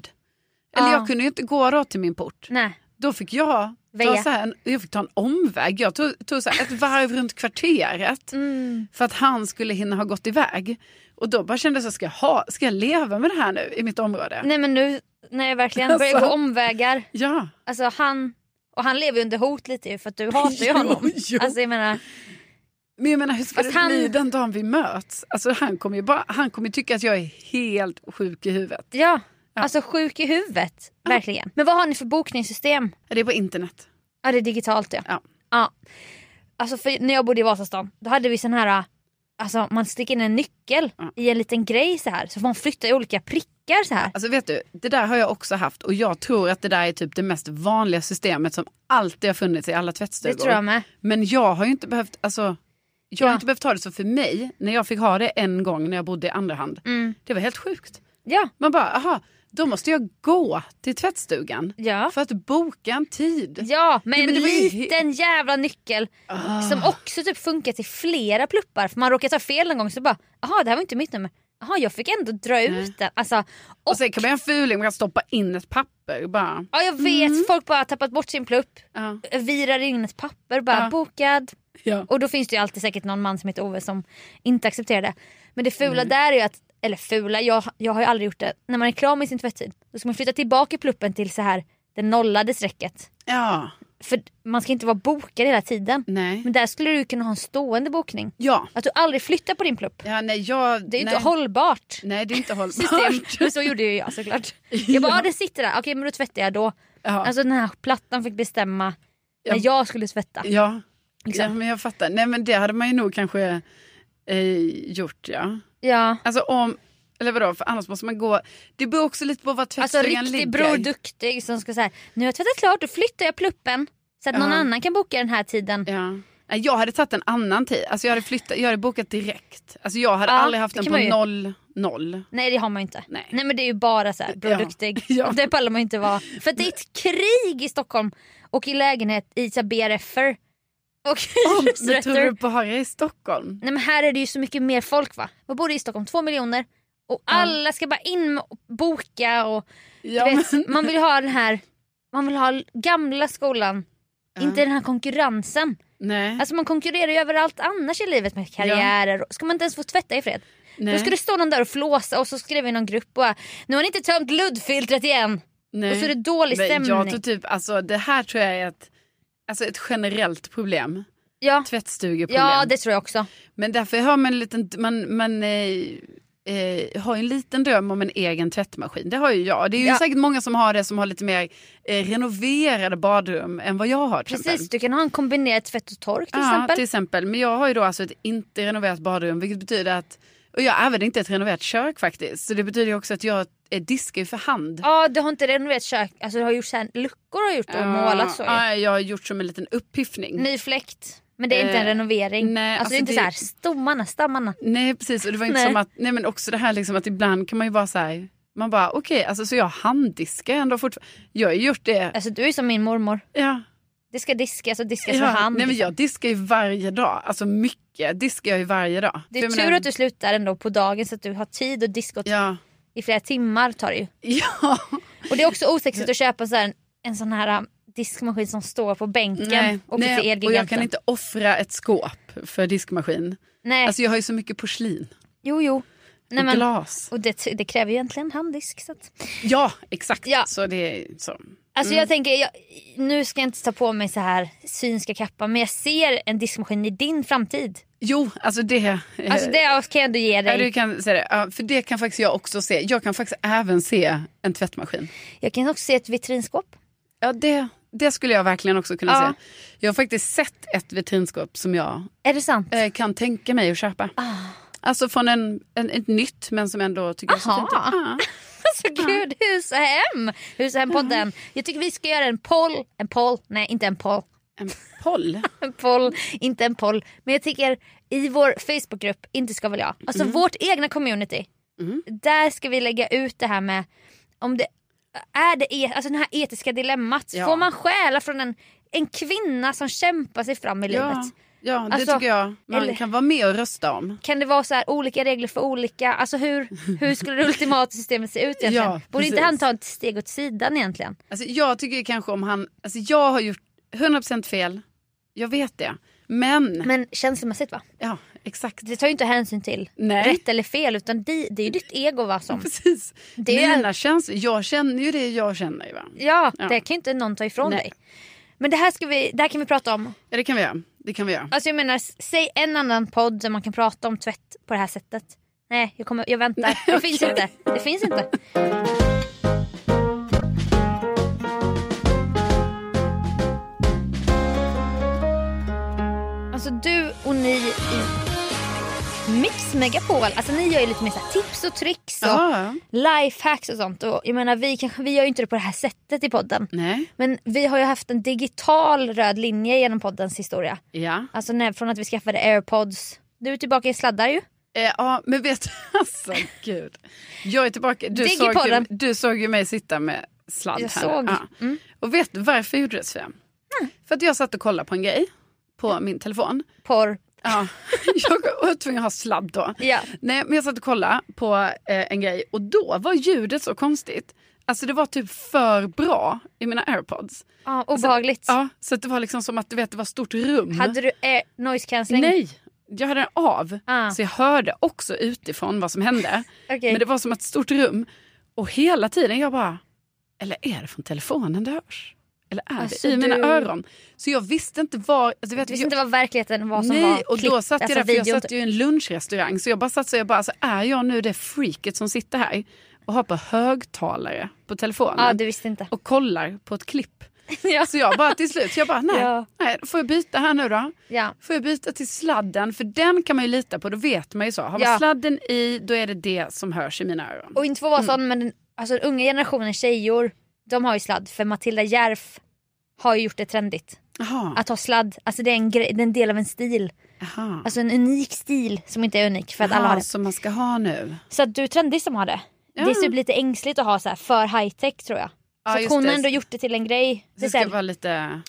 Speaker 3: Eller
Speaker 2: Mm. Ja.
Speaker 3: jag kunde ju inte gå rakt till min port.
Speaker 2: Nej.
Speaker 3: Då fick jag
Speaker 2: Väja.
Speaker 3: ta, så här en, jag fick ta en omväg. Jag tog, tog så här ett varv runt kvarteret
Speaker 2: Mm.
Speaker 3: för att han skulle hinna ha gått iväg. Och då bara kände jag, så här, ska jag, ha, ska jag leva med det här nu i mitt område?
Speaker 2: Nej men nu när jag verkligen
Speaker 3: Alltså.
Speaker 2: börjar gå omvägar.
Speaker 3: Ja.
Speaker 2: Alltså han, och han lever ju under hot lite ju för att du hatar
Speaker 3: (laughs)
Speaker 2: ju honom.
Speaker 3: Jo, jo.
Speaker 2: Alltså jag menar,
Speaker 3: Men jag menar hur ska
Speaker 2: Fast
Speaker 3: det
Speaker 2: han-
Speaker 3: bli den dagen vi möts? Alltså, han kommer ju bara, han kommer ju tycka att jag är helt sjuk i huvudet.
Speaker 2: ja. Alltså sjuk i huvudet, verkligen. Men vad har ni för bokningssystem?
Speaker 3: Det är på internet.
Speaker 2: Ja det är digitalt ja.
Speaker 3: Ja.
Speaker 2: ja. Alltså för när jag bodde i Vasastan då hade vi sån här, alltså man sticker in en nyckel
Speaker 3: Ja.
Speaker 2: i en liten grej så här så får man flytta i olika prickar så här.
Speaker 3: Alltså vet du, det där har jag också haft och jag tror att det där är typ det mest vanliga systemet som alltid har funnits i alla
Speaker 2: Det
Speaker 3: tvättstugor.
Speaker 2: tror jag med.
Speaker 3: Men jag har ju inte behövt, alltså, jag
Speaker 2: Ja.
Speaker 3: har inte behövt ha det så för mig, när jag fick ha det en gång när jag bodde i andra hand.
Speaker 2: Mm.
Speaker 3: Det var helt sjukt.
Speaker 2: Ja.
Speaker 3: Man bara, aha, då måste jag gå till tvättstugan
Speaker 2: Ja.
Speaker 3: för att boka en tid.
Speaker 2: Ja, med
Speaker 3: Ja, men
Speaker 2: en
Speaker 3: det var ju he- Ah.
Speaker 2: liten jävla nyckel som också typ funkar till flera pluppar för man råkar ta fel en gång så bara jaha det här var inte mitt nummer. Jaha jag fick ändå dra ut den. Alltså, och,
Speaker 3: Och sen kan man göra en fuling, man kan stoppa in ett papper och bara,
Speaker 2: ja, jag vet folk bara har tappat bort sin plupp,
Speaker 3: Mm. ja.
Speaker 2: virar in ett papper bara
Speaker 3: Ja.
Speaker 2: bokad.
Speaker 3: ja.
Speaker 2: Och då finns det ju alltid säkert någon man som heter Ove som inte accepterar det. Men det fula
Speaker 3: Mm.
Speaker 2: där är ju att, eller fula, jag, jag har ju aldrig gjort det. När man är klar med sin tvättid då ska man flytta tillbaka pluppen till så här det nollade strecket.
Speaker 3: ja.
Speaker 2: För man ska inte vara bokad hela tiden.
Speaker 3: Nej.
Speaker 2: Men där skulle du ju kunna ha en stående bokning.
Speaker 3: Ja.
Speaker 2: Att du aldrig flyttar på din plupp.
Speaker 3: Ja, nej, jag,
Speaker 2: Det är ju
Speaker 3: nej.
Speaker 2: inte
Speaker 3: (laughs)
Speaker 2: hållbart.
Speaker 3: Nej, det är inte
Speaker 2: System. (laughs)
Speaker 3: hållbart. (laughs)
Speaker 2: Men så gjorde ju jag såklart. Jag bara, ja. det sitter där. Okej men då tvättar jag då.
Speaker 3: Ja.
Speaker 2: Alltså den här plattan fick bestämma när
Speaker 3: Ja.
Speaker 2: jag skulle tvätta.
Speaker 3: Ja.
Speaker 2: Liksom.
Speaker 3: ja, men jag fattar. Nej, men det hade man ju nog kanske eh, gjort, ja.
Speaker 2: Ja.
Speaker 3: Alltså om, eller vadå, för annars måste man gå. Det beror också lite på var
Speaker 2: Alltså
Speaker 3: tvättstugan
Speaker 2: riktig
Speaker 3: ligger.
Speaker 2: bror duktig som ska säga nu har jag tvättat klart då flyttar jag pluppen så att någon
Speaker 3: Ja.
Speaker 2: annan kan boka den här tiden.
Speaker 3: Ja. Nej, Jag hade tagit en annan tid. Alltså jag hade flyttat, jag hade bokat direkt. Alltså jag hade
Speaker 2: Ja,
Speaker 3: aldrig haft
Speaker 2: det
Speaker 3: den
Speaker 2: kan
Speaker 3: på
Speaker 2: man ju.
Speaker 3: noll, noll.
Speaker 2: Nej det har man ju inte.
Speaker 3: Nej.
Speaker 2: men det är ju bara så här bror
Speaker 3: Ja.
Speaker 2: duktig.
Speaker 3: (laughs) Ja.
Speaker 2: Och Det pallar man ju inte vara. För att det är ett krig i Stockholm och i lägenhet i så här BRFer.
Speaker 3: (laughs)
Speaker 2: Och (laughs)
Speaker 3: Oh,
Speaker 2: i
Speaker 3: men tror du
Speaker 2: hyresrätter.
Speaker 3: bara i Stockholm?
Speaker 2: Nej men här är det ju så mycket mer folk va. Vad bor det i Stockholm? Två miljoner. Och alla ska bara in och boka och
Speaker 3: Ja,
Speaker 2: du vet,
Speaker 3: men-
Speaker 2: man vill ha den här man vill ha gamla skolan. Inte den här konkurrensen.
Speaker 3: Nej.
Speaker 2: Alltså man konkurrerar ju överallt annars i livet med karriärer. Ska man inte ens få tvätta i fred? Då
Speaker 3: nej,
Speaker 2: ska det stå någon där och flåsa och så skriver någon grupp och bara, nu har ni inte tömt luddfiltret igen.
Speaker 3: nej.
Speaker 2: Och så är det dålig
Speaker 3: Men
Speaker 2: stämning.
Speaker 3: Jag tror typ, alltså det här tror jag är ett, alltså ett generellt problem.
Speaker 2: Ja,
Speaker 3: Tvättstugeproblem.
Speaker 2: ja det tror jag också.
Speaker 3: Men därför har man en liten, man, man eh, eh, har en liten dröm om en egen tvättmaskin. Det har ju jag. Det är ju
Speaker 2: Ja.
Speaker 3: säkert många som har det som har lite mer eh, renoverade badrum än vad jag har till
Speaker 2: Precis,
Speaker 3: exempel.
Speaker 2: du kan ha en kombinerad tvätt och tork till
Speaker 3: Ja,
Speaker 2: exempel.
Speaker 3: till exempel. Men jag har ju då alltså ett inte renoverat badrum vilket betyder att, och jag använder inte ett renoverat kök faktiskt. Så det betyder ju också att jag eh, diskar ju för hand.
Speaker 2: Ja, du har inte renoverat kök, alltså du har gjort så här, luckor har gjort och målat så. ju.
Speaker 3: Ja, jag har gjort som en liten upppiffning.
Speaker 2: Ny fläkt. Men det är inte en
Speaker 3: Eh,
Speaker 2: renovering. alltså,
Speaker 3: nej,
Speaker 2: det
Speaker 3: alltså
Speaker 2: är inte
Speaker 3: det-
Speaker 2: så här stommarna, stammarna.
Speaker 3: Nej precis och det var inte
Speaker 2: Nej.
Speaker 3: som att, nej men också det här liksom att ibland kan man ju bara säga man bara okej, alltså så jag handdiskar ändå fortfarande. Jag har ju gjort det.
Speaker 2: Alltså du är som min mormor.
Speaker 3: Ja,
Speaker 2: Det ska diskas och diskas
Speaker 3: ja.
Speaker 2: för hand. liksom.
Speaker 3: Nej men jag diskar ju varje dag, alltså mycket diskar jag ju varje dag.
Speaker 2: det
Speaker 3: För
Speaker 2: är
Speaker 3: jag
Speaker 2: tur
Speaker 3: menar-
Speaker 2: att du slutar ändå på dagen så att du har tid att diska åt-
Speaker 3: Ja, (laughs)
Speaker 2: i flera timmar tar det ju.
Speaker 3: ja.
Speaker 2: Och det är också osexigt att köpa så här, en, en sån här um, diskmaskin som står på bänken
Speaker 3: Nej,
Speaker 2: och till
Speaker 3: nej. och jag
Speaker 2: Elgiganten.
Speaker 3: kan inte offra ett skåp för diskmaskin.
Speaker 2: Nej,
Speaker 3: Alltså jag har ju så mycket porslin
Speaker 2: jo jo. Nej,
Speaker 3: och
Speaker 2: men,
Speaker 3: glas.
Speaker 2: och det, det kräver ju egentligen handdisk. Så att.
Speaker 3: Ja, exakt.
Speaker 2: Ja.
Speaker 3: Så det är så.
Speaker 2: Alltså
Speaker 3: Mm.
Speaker 2: jag tänker, jag, nu ska jag inte ta på mig så här synska kappa men jag ser en diskmaskin i din framtid.
Speaker 3: Jo, alltså det... eh,
Speaker 2: Alltså det kan jag ändå ge
Speaker 3: Ja,
Speaker 2: dig.
Speaker 3: du kan säga det. Ja, för det kan faktiskt jag också se. Jag kan faktiskt även se en tvättmaskin.
Speaker 2: Jag kan också se ett vitrinskåp.
Speaker 3: Ja, det, det skulle jag verkligen också kunna
Speaker 2: Ja.
Speaker 3: se. Jag har faktiskt sett ett vitrinskåp som jag
Speaker 2: Är det sant?
Speaker 3: eh, kan tänka mig att köpa.
Speaker 2: Ah.
Speaker 3: Alltså från en, en, ett nytt men som ändå tycker jag är så
Speaker 2: Aha.
Speaker 3: fint. ut. Ja.
Speaker 2: (laughs)
Speaker 3: Mm.
Speaker 2: Alltså gud, hus och hem! Hus och hem-podden. Jag tycker vi ska göra en poll. En poll? Nej, inte en poll.
Speaker 3: En
Speaker 2: (laughs)
Speaker 3: poll.
Speaker 2: En poll, inte en poll. Men jag tycker i vår Facebookgrupp, Inte ska väl jag. Alltså
Speaker 3: Mm.
Speaker 2: vårt egna community. Där ska vi lägga ut det här med om det är det, e- alltså det här etiska dilemmat.
Speaker 3: Ja.
Speaker 2: Får man stjäla från en, en kvinna som kämpar sig fram i
Speaker 3: Ja,
Speaker 2: livet?
Speaker 3: ja det
Speaker 2: Alltså,
Speaker 3: tycker jag man
Speaker 2: eller-
Speaker 3: kan vara med och rösta om.
Speaker 2: Kan det vara så här olika regler för olika? Alltså hur, hur skulle det ultimata systemet se ut egentligen?
Speaker 3: Ja,
Speaker 2: Borde inte
Speaker 3: precis.
Speaker 2: han ta ett steg åt sidan egentligen?
Speaker 3: Alltså, jag tycker kanske om han... Alltså, jag har gjort 100% fel. Jag vet det. Men...
Speaker 2: Men känslomässigt va?
Speaker 3: Ja, exakt.
Speaker 2: Det tar ju inte hänsyn till
Speaker 3: Nej.
Speaker 2: rätt eller fel utan det, det är ju ditt ego va (laughs) som...
Speaker 3: Precis.
Speaker 2: Det är-
Speaker 3: Mina känslor. Jag känner ju det jag känner. ju, Va?
Speaker 2: Ja,
Speaker 3: Ja.
Speaker 2: det kan ju inte någon ta ifrån
Speaker 3: Nej.
Speaker 2: dig. Men det här, ska vi, det här kan vi prata om.
Speaker 3: Ja, det kan vi göra. Det kan vi göra.
Speaker 2: Alltså jag menar, s- säg en annan podd där man kan prata om tvätt på det här sättet. Nej, jag, kommer, jag väntar.
Speaker 3: Nej,
Speaker 2: Det finns inte. Det finns inte. Alltså du och ni i Mix Megapol, alltså ni gör ju lite mer så här tips och tricks och
Speaker 3: Ja,
Speaker 2: lifehacks och sånt. Och jag menar vi, kanske, vi gör ju inte det på det här sättet i podden.
Speaker 3: nej,
Speaker 2: Men vi har ju haft en digital röd linje genom poddens historia.
Speaker 3: ja.
Speaker 2: Alltså när, från att vi skaffade airpods. Du är tillbaka i sladdar ju.
Speaker 3: Eh, ja, men vet du, (laughs) alltså gud. Jag är tillbaka. Du, såg ju,
Speaker 2: Digipodden.
Speaker 3: du såg ju mig sitta med sladd
Speaker 2: Jag
Speaker 3: här.
Speaker 2: såg. Mm.
Speaker 3: Ja. Och vet du varför jag gjorde det Sofia? För att jag satt och kollade på en grej
Speaker 2: Mm.
Speaker 3: på
Speaker 2: (laughs)
Speaker 3: min telefon.
Speaker 2: Porr.
Speaker 3: Ja. (laughs) Jag var tvungen att ha sladd då.
Speaker 2: Ja.
Speaker 3: Nej, men jag satt och kollade på eh, en grej och då var ljudet så konstigt. Alltså det var typ för bra i mina airpods.
Speaker 2: Ja, obehagligt.
Speaker 3: Ja, så att det var liksom som att du vet, det var ett stort rum.
Speaker 2: Hade du air, noise cancelling?
Speaker 3: Nej, jag hade den av.
Speaker 2: Ah.
Speaker 3: Så jag hörde också utifrån vad
Speaker 2: (laughs)
Speaker 3: som hände.
Speaker 2: Okej.
Speaker 3: Men det var som ett stort rum. Och hela tiden jag bara, eller är det från telefonen det hörs? Eller är
Speaker 2: Alltså,
Speaker 3: det i mina
Speaker 2: du-
Speaker 3: öron? Så jag visste inte var... Alltså, du vet,
Speaker 2: Du visste
Speaker 3: jag,
Speaker 2: inte vad verkligheten var som
Speaker 3: nej,
Speaker 2: var
Speaker 3: och då
Speaker 2: klippt,
Speaker 3: satt jag
Speaker 2: alltså
Speaker 3: där, för jag
Speaker 2: videon.
Speaker 3: satt ju i en lunchrestaurang. Så jag bara satt så jag bara, alltså, är jag nu det freaket som sitter här och har på högtalare på telefonen?
Speaker 2: Ja, du visste inte.
Speaker 3: Och (laughs) kollar på ett klipp.
Speaker 2: ja.
Speaker 3: Så Alltså, jag bara till slut, så jag bara nej,
Speaker 2: Ja.
Speaker 3: nej, får jag byta här nu då?
Speaker 2: Ja.
Speaker 3: Får jag byta till sladden? För den kan man ju lita på, då vet man ju så. Har man
Speaker 2: Ja.
Speaker 3: sladden i, då är det det som hörs i mina öron.
Speaker 2: Och inte för att vara sån, men den, alltså, den unga generationen tjejor, de har ju sladd. För Matilda Järf har ju gjort det trendigt.
Speaker 3: Jaha,
Speaker 2: Att ha sladd, alltså det är en, grej, det är en del av en stil.
Speaker 3: jaha.
Speaker 2: Alltså en unik stil som inte är unik för att alla har
Speaker 3: Jaha,
Speaker 2: det.
Speaker 3: som man ska ha nu.
Speaker 2: Så att du är trendig som har det.
Speaker 3: Ja.
Speaker 2: Det är typ lite ängsligt att ha så här för high tech tror jag.
Speaker 3: Ja,
Speaker 2: så att
Speaker 3: just
Speaker 2: hon har
Speaker 3: det.
Speaker 2: ändå gjort det till en grej. Det
Speaker 3: Det
Speaker 2: är så här,
Speaker 3: ska vara lite...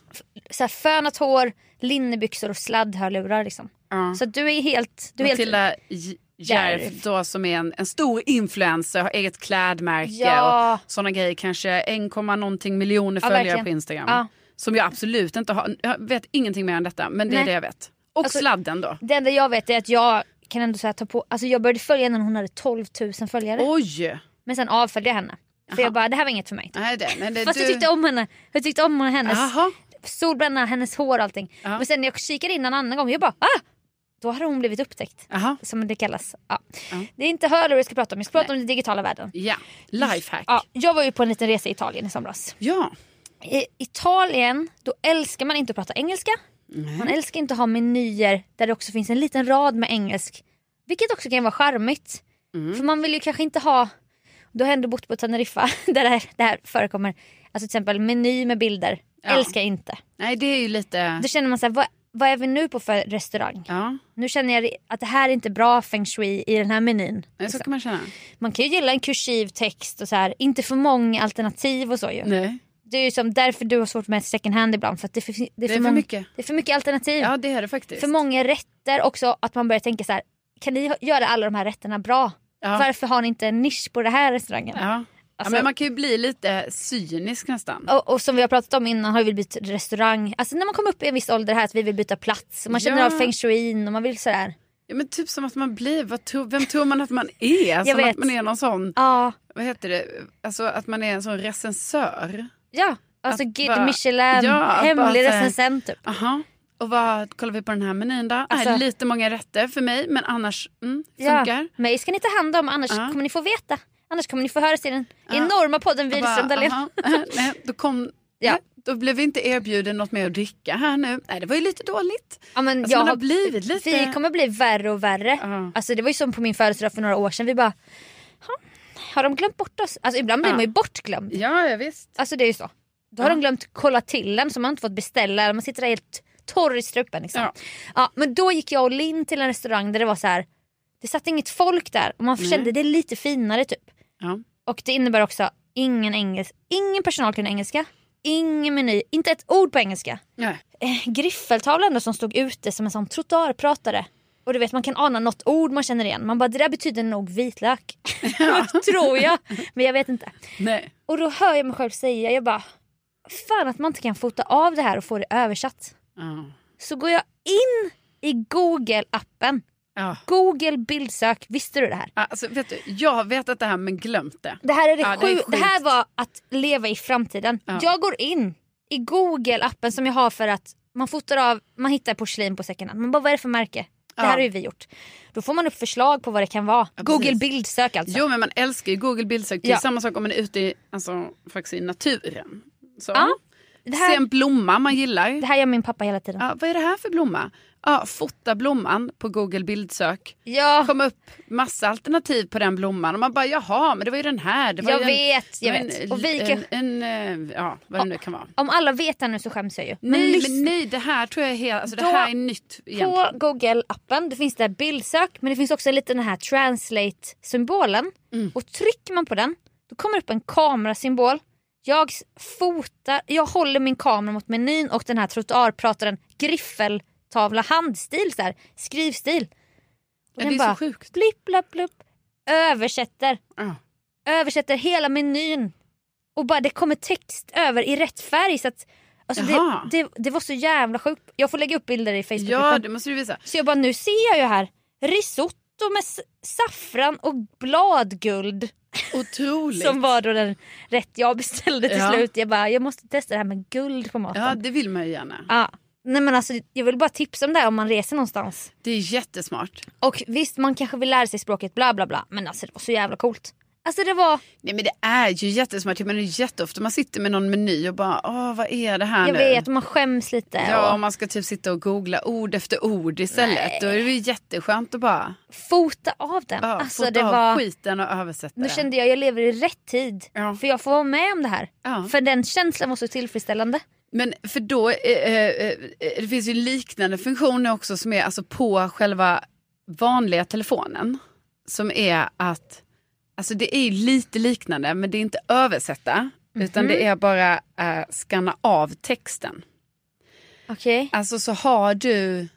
Speaker 2: så här fönat hår, linnebyxor och sladdhörlurar liksom.
Speaker 3: Ja.
Speaker 2: Så att du är helt... Du är helt
Speaker 3: Matilda J- Järf
Speaker 2: Järf.
Speaker 3: då som är en, en stor influencer, har eget klädmärke
Speaker 2: Ja.
Speaker 3: och sådana grejer. Kanske 1, någonting miljoner
Speaker 2: Ja,
Speaker 3: följare
Speaker 2: verkligen.
Speaker 3: på Instagram.
Speaker 2: Ja.
Speaker 3: Som jag absolut inte har. Jag vet ingenting mer än detta, men det
Speaker 2: Nej.
Speaker 3: är det jag vet. Och
Speaker 2: Alltså-
Speaker 3: sladden då.
Speaker 2: det enda jag vet är att jag kan ändå så här ta på... Alltså jag började följa henne när hon hade 12 000 följare.
Speaker 3: Oj!
Speaker 2: Men sen avföljde jag henne. För jag bara, det här var inget för mig.
Speaker 3: Nej, det, men det,
Speaker 2: Fast
Speaker 3: du...
Speaker 2: jag tyckte om henne. Jag tyckte om hennes
Speaker 3: Jaha.
Speaker 2: solbränna, hennes hår och allting.
Speaker 3: Ja.
Speaker 2: Men sen när jag kikade in en annan gång, jag bara ah! Då hade hon blivit upptäckt.
Speaker 3: Jaha.
Speaker 2: Som det kallas. Ja.
Speaker 3: Ja.
Speaker 2: Det är inte hörlurar jag ska prata om, jag ska prata om den digitala världen.
Speaker 3: Ja, lifehack.
Speaker 2: Ja, jag var ju på en liten resa i Italien i somras.
Speaker 3: Ja.
Speaker 2: I Italien, då älskar man inte att prata engelska. Man älskar inte att ha menyer där det också finns en liten rad med engelsk. Vilket också kan vara charmigt.
Speaker 3: Mm.
Speaker 2: För man vill ju kanske inte ha... Du har ändå bott på Teneriffa (laughs) där det här, det här förekommer. Alltså till exempel meny med bilder.
Speaker 3: Ja.
Speaker 2: Älskar jag inte.
Speaker 3: Nej, det är ju lite...
Speaker 2: Då känner man så här, vad, vad är vi nu på för restaurang?
Speaker 3: Ja,
Speaker 2: Nu känner jag att det här är inte bra feng shui i den här menyn. Alltså,
Speaker 3: Nej, så kan man känna.
Speaker 2: Man kan ju gilla en kursiv text och så här, inte för många alternativ och så ju.
Speaker 3: Nej.
Speaker 2: Det är ju som därför du har svårt med second hand ibland. För att det, är för, det, är för många,
Speaker 3: mycket.
Speaker 2: det är för mycket alternativ.
Speaker 3: Ja, det är det faktiskt.
Speaker 2: för många rätter också. Att man börjar tänka så här. Kan ni ha- göra alla de här rätterna bra?
Speaker 3: Ja.
Speaker 2: Varför har ni inte en nisch på den här restaurangen?
Speaker 3: Ja.
Speaker 2: Alltså-
Speaker 3: ja, men man kan ju bli lite cynisk nästan.
Speaker 2: Och, och som vi har pratat om innan har vi bytt restaurang. Alltså när man kommer upp i en viss ålder här att vi vill byta plats. Och man känner
Speaker 3: Ja.
Speaker 2: av feng shuin och man vill sådär.
Speaker 3: Ja, men typ som att man blir, vad tro, vem tror man att man är? Som
Speaker 2: vet.
Speaker 3: att man är någon sån,
Speaker 2: Ja,
Speaker 3: vad heter det, alltså att man är en sån recensör.
Speaker 2: ja. Alltså
Speaker 3: Att
Speaker 2: Guide
Speaker 3: bara-
Speaker 2: Michelin,
Speaker 3: Ja, att bara
Speaker 2: hemlig
Speaker 3: så här-
Speaker 2: recensent typ.
Speaker 3: Aha. Och vad kollar vi på den här menyn då?
Speaker 2: Alltså-
Speaker 3: Nej, lite många rätter för mig men annars mm, funkar.
Speaker 2: Ja. Mig ska ni ta hand om annars
Speaker 3: Ja.
Speaker 2: kommer ni få veta. Annars kommer ni få höra i den enorma podden
Speaker 3: Och bara,
Speaker 2: Wihlström Dahlén. (laughs)
Speaker 3: aha, (laughs) eh, Nej, då kom...
Speaker 2: Ja.
Speaker 3: nej, Då blev vi inte erbjuden något mer att dricka här nu. Nej, det var ju lite dåligt.
Speaker 2: Ja, men
Speaker 3: Alltså,
Speaker 2: jag
Speaker 3: man har
Speaker 2: har-
Speaker 3: blivit lite-
Speaker 2: Vi kommer bli värre och värre.
Speaker 3: Ja.
Speaker 2: Alltså, det var ju som på min födelsedag för några år sedan. Vi bara, "Ha, har de glömt bort oss? Alltså, ibland blir
Speaker 3: Ja.
Speaker 2: man ju bortglömd.
Speaker 3: Ja, ja visst.
Speaker 2: Alltså, det är ju så. Då har de glömt kolla till en så man har inte fått beställa. Man sitter där helt torr i strupen. Liksom. Ja.
Speaker 3: Ja.
Speaker 2: men då gick jag och Linn till en restaurang där det var så här. Det satt inget folk där och man kände det lite finare typ.
Speaker 3: Ja.
Speaker 2: Och det innebär också ingen engelsk, ingen personal kunde engelska. Ingen meny, inte ett ord på engelska
Speaker 3: Nej.
Speaker 2: eh, griffeltavla ändå som stod ute som en sån trottoarpratare. Och du vet man kan ana något ord man känner igen. Man bara det där betyder nog vitlök. (laughs) Tror jag. Men jag vet inte.
Speaker 3: Nej.
Speaker 2: Och då hör jag mig själv säga jag bara fan att man inte kan fota av det här och få det översatt.
Speaker 3: Ja.
Speaker 2: Så går jag in i google appen.
Speaker 3: Ja.
Speaker 2: Google bildsök. Visste du det här?
Speaker 3: Alltså, vet du, jag har vetat det här men glömt det.
Speaker 2: Det här, är det,
Speaker 3: Ja, det är
Speaker 2: sju-
Speaker 3: sjukt.
Speaker 2: det här var att leva i framtiden.
Speaker 3: Ja.
Speaker 2: Jag går in i Google-appen som jag har för att man fotar av, man hittar porslin på second hand. Man bara vad är det för märke? Det här
Speaker 3: Ja.
Speaker 2: har ju vi gjort. Då får man upp förslag på vad det kan vara.
Speaker 3: Ja,
Speaker 2: Google
Speaker 3: precis.
Speaker 2: bildsök alltså.
Speaker 3: Jo men man älskar ju Google bildsök. Det är
Speaker 2: Ja.
Speaker 3: samma sak om man är ute i, alltså, faktiskt i naturen. Så.
Speaker 2: Ja, det,
Speaker 3: Se
Speaker 2: här,
Speaker 3: en blomma man gillar.
Speaker 2: det här gör min pappa hela tiden.
Speaker 3: Ja, vad är det här för blomma? Ja, fota blomman på Google bildsök.
Speaker 2: Ja,
Speaker 3: kom upp massa alternativ på den blomman och man bara jaha men det var ju den här. Det var
Speaker 2: Jag
Speaker 3: ju
Speaker 2: vet, jag
Speaker 3: det var
Speaker 2: vet.
Speaker 3: En,
Speaker 2: Och vi
Speaker 3: en,
Speaker 2: kan-
Speaker 3: en, eh, ja vad det nu kan vara.
Speaker 2: om alla vet det nu så skäms jag ju. Men
Speaker 3: Nej
Speaker 2: lyssna.
Speaker 3: men nej det här tror jag är helt, alltså
Speaker 2: Då-
Speaker 3: det här är nytt egentligen.
Speaker 2: På Google-appen då finns det bildsök men det finns också en liten den här translate-symbolen.
Speaker 3: Mm.
Speaker 2: Och trycker man på den då kommer upp en kamerasymbol. Jag s- fotar, jag håller min kamera mot menyn och den här trottoarprataren griffeltavla handstil så här, skrivstil. Och
Speaker 3: Ja, det är så sjukt. Ah.
Speaker 2: Blipp, blapp, blupp, översätter,
Speaker 3: Ja.
Speaker 2: översätter hela menyn. Och bara det kommer text över i rätt färg så att Alltså det,
Speaker 3: Jaha.
Speaker 2: det, det var så jävla sjukt. Jag får lägga upp bilder i Facebook.
Speaker 3: Ja det måste du visa.
Speaker 2: Så jag bara, nu ser jag ju här risotto med s- saffran och bladguld
Speaker 3: Otroligt.
Speaker 2: som var då den rätt jag beställde till
Speaker 3: Ja.
Speaker 2: slut. Jag bara, jag måste testa det här med guld på maten.
Speaker 3: Ja
Speaker 2: Ja,
Speaker 3: det vill man ju gärna.
Speaker 2: Ah. Nej, men alltså, jag vill bara tipsa om det här om man reser någonstans.
Speaker 3: Det är jättesmart.
Speaker 2: Och visst, man kanske vill lära sig språket bla bla bla, men alltså det var så jävla coolt. Alltså det var,
Speaker 3: Nej men det är ju jättesmart. Jag menar jätteofta man sitter med någon meny och bara åh vad är det här
Speaker 2: jag
Speaker 3: nu?
Speaker 2: vet, och man skäms lite.
Speaker 3: Ja,
Speaker 2: och
Speaker 3: om man ska typ sitta och googla ord efter ord istället.
Speaker 2: Nej.
Speaker 3: Då är det ju jätteskönt att bara
Speaker 2: fota av den.
Speaker 3: ja,
Speaker 2: alltså
Speaker 3: få
Speaker 2: det
Speaker 3: ta
Speaker 2: var...
Speaker 3: skiten och översätta
Speaker 2: Nu
Speaker 3: det.
Speaker 2: kände jag, jag lever i rätt tid.
Speaker 3: Ja.
Speaker 2: För jag får vara med om det här.
Speaker 3: Ja.
Speaker 2: För den känslan var så tillfredsställande.
Speaker 3: Men för då, eh, eh, eh, det finns ju liknande funktioner också som är alltså på själva vanliga telefonen. Som är att, alltså det är ju lite liknande men det är inte översätta.
Speaker 2: Mhm.
Speaker 3: Utan det är bara eh, skanna av texten.
Speaker 2: Okej.
Speaker 3: Alltså så har du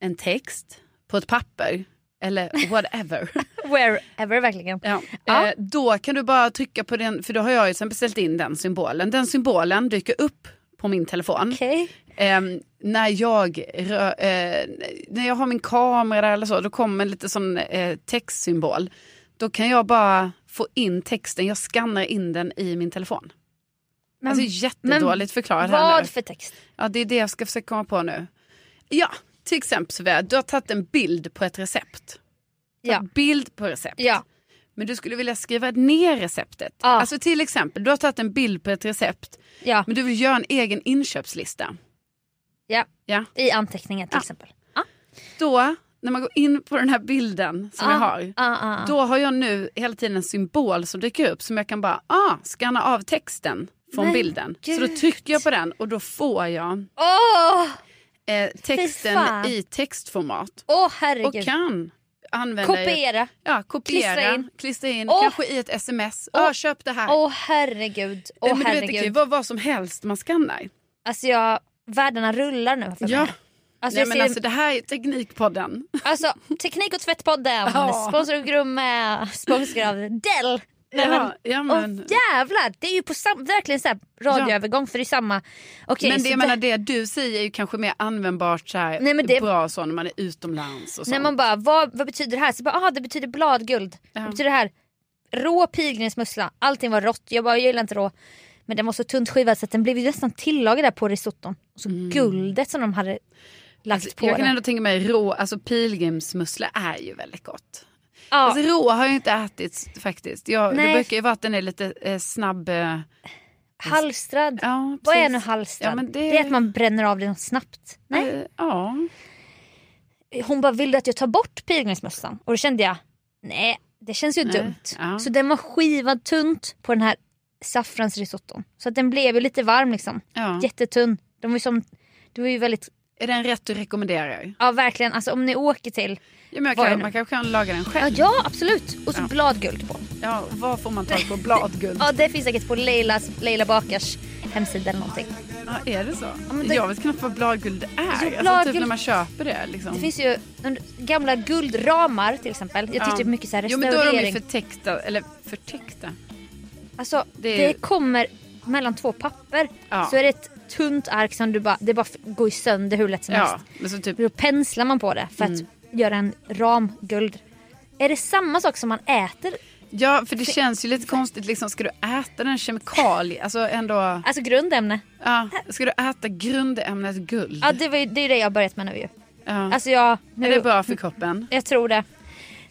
Speaker 3: en text på ett papper
Speaker 2: (laughs)
Speaker 3: eller whatever.
Speaker 2: Wherever verkligen.
Speaker 3: Ja.
Speaker 2: Ja.
Speaker 3: Eh, då kan du bara trycka på den, för då har jag ju sen beställt in den symbolen. Den symbolen dyker upp på min telefon.
Speaker 2: Okej.
Speaker 3: Ehm, när, jag rö- eh, när jag har min kamera där eller så, då kommer en lite sån eh, textsymbol. Då kan jag bara få in texten, jag skannar in den i min telefon.
Speaker 2: Men,
Speaker 3: alltså jättedåligt förklarat här
Speaker 2: Vad
Speaker 3: nu.
Speaker 2: för text?
Speaker 3: Ja, det är det jag ska försöka komma på nu. Ja, till exempel Sofia, du har tagit en bild på ett recept.
Speaker 2: Ja.
Speaker 3: En bild på recept.
Speaker 2: Ja.
Speaker 3: Men du skulle vilja skriva ner receptet.
Speaker 2: Ja.
Speaker 3: Alltså till exempel, du har tagit en bild på ett recept
Speaker 2: Ja.
Speaker 3: men du vill göra en egen inköpslista.
Speaker 2: ja.
Speaker 3: Ja.
Speaker 2: I anteckningen till
Speaker 3: Ja.
Speaker 2: exempel. Ja.
Speaker 3: Då, när man går in på den här bilden som jag
Speaker 2: Ah,
Speaker 3: har.
Speaker 2: ah, ah, ah.
Speaker 3: Då har jag nu hela tiden en symbol som dyker upp som jag kan bara ah, scanna av texten från
Speaker 2: Men
Speaker 3: bilden. Så då
Speaker 2: gud.
Speaker 3: trycker jag på den och då får jag
Speaker 2: Åh,
Speaker 3: eh, texten
Speaker 2: fan.
Speaker 3: i textformat.
Speaker 2: åh
Speaker 3: Och
Speaker 2: herregud.
Speaker 3: kan använda
Speaker 2: Kopiera.
Speaker 3: Ja, kopiera,
Speaker 2: Klistra
Speaker 3: klistra
Speaker 2: in.
Speaker 3: in,
Speaker 2: Åh.
Speaker 3: kanske i ett sms. Ja, köp det här.
Speaker 2: Åh herregud. Åh
Speaker 3: men du vet, det kan ju
Speaker 2: herregud.
Speaker 3: vara vad som helst man scannar.
Speaker 2: Alltså jag, världarna rullar nu för
Speaker 3: Ja.
Speaker 2: mig. Alltså,
Speaker 3: Nej,
Speaker 2: jag
Speaker 3: men
Speaker 2: ser,
Speaker 3: alltså, det här
Speaker 2: (laughs)
Speaker 3: är Teknikpodden.
Speaker 2: alltså, Teknik och tvättpodden,
Speaker 3: Ja.
Speaker 2: sponsor av Grumme, sponsor av Dell. Nej, men,
Speaker 3: ja, ja,
Speaker 2: Åh
Speaker 3: men,
Speaker 2: jävlar, det är ju på sam- verkligen så här radioövergång för det är samma. Okej,
Speaker 3: men
Speaker 2: så
Speaker 3: det, jag menar, det du säger är ju kanske mer användbart så här,
Speaker 2: Nej, men det-
Speaker 3: bra så när man är utomlands. Och
Speaker 2: När
Speaker 3: sånt.
Speaker 2: man bara, vad, vad betyder det här? Så bara, aha, det betyder bladguld. Det betyder det här? Rå pilgrimsmussla. Allting var rått. Jag bara, jag gillar inte rå. Men den var så tunt skivad så att den blev ju nästan tillagad där på risotton. Och så guldet som de hade lagt på
Speaker 3: Mm. Alltså, jag kan
Speaker 2: den.
Speaker 3: ändå tänka mig rå, alltså pilgrimsmussla är ju väldigt gott.
Speaker 2: ja.
Speaker 3: Alltså rå har ju inte ätits faktiskt. Jag, det
Speaker 2: Nej.
Speaker 3: brukar ju vara att den är lite eh, snabb. Eh,
Speaker 2: halstrad.
Speaker 3: ja,
Speaker 2: vad är
Speaker 3: precis.
Speaker 2: nu halstrad?
Speaker 3: Ja, men
Speaker 2: det...
Speaker 3: det-
Speaker 2: är att man bränner av det snabbt. Nej.
Speaker 3: Eh, ja.
Speaker 2: Hon bara, vill du att jag tar bort pilgrimsmössan? Och då kände jag, nej det känns ju
Speaker 3: Nej,
Speaker 2: dumt.
Speaker 3: ja.
Speaker 2: Så den var skivad tunt på den här saffransrisotton. Så att den blev ju lite varm liksom.
Speaker 3: ja.
Speaker 2: Jättetunn. De var ju som, det var ju väldigt,
Speaker 3: Är den rätt du rekommenderar?
Speaker 2: ja verkligen alltså om ni åker till.
Speaker 3: Ja, men jag
Speaker 2: Vad är
Speaker 3: kan,
Speaker 2: det?
Speaker 3: man kanske kan laga den
Speaker 2: Ja,
Speaker 3: själv.
Speaker 2: ja absolut! Och så
Speaker 3: Ja.
Speaker 2: bladguld på.
Speaker 3: Ja, vad får
Speaker 2: (laughs)
Speaker 3: man tag på bladguld?
Speaker 2: Ja det finns säkert på Leilas, Leila Bakars hemsida eller någonting.
Speaker 3: Ja, är det så?
Speaker 2: men det-
Speaker 3: Jag vet knappt vad bladguld är. alltså,
Speaker 2: bladguld-
Speaker 3: Typ när man köper det. Liksom.
Speaker 2: Det finns ju under, gamla guldramar till exempel. Jag tittar ju på mycket så här
Speaker 3: Jo,
Speaker 2: restaurering.
Speaker 3: men då är de ju förtäckta. Eller förtäckta.
Speaker 2: Alltså
Speaker 3: Det
Speaker 2: det,
Speaker 3: är-
Speaker 2: kommer mellan två papper.
Speaker 3: Ja.
Speaker 2: Så är det ett tunt ark som du bara, det bara f- går ju sönder hur lätt som
Speaker 3: Ja, Mm.
Speaker 2: helst.
Speaker 3: men så typ...
Speaker 2: Då penslar man på det för att göra en ram guld. Är det samma sak som man äter?
Speaker 3: Ja, för det känns ju lite konstigt. Liksom, ska du äta den kemikalie? Alltså ändå...
Speaker 2: Alltså grundämne.
Speaker 3: Ja, ska du äta grundämnet guld?
Speaker 2: Ja det, var ju, det är ju det jag har börjat med nu ju.
Speaker 3: Ja.
Speaker 2: Alltså jag, nu,
Speaker 3: är det bra för kroppen?
Speaker 2: jag tror det.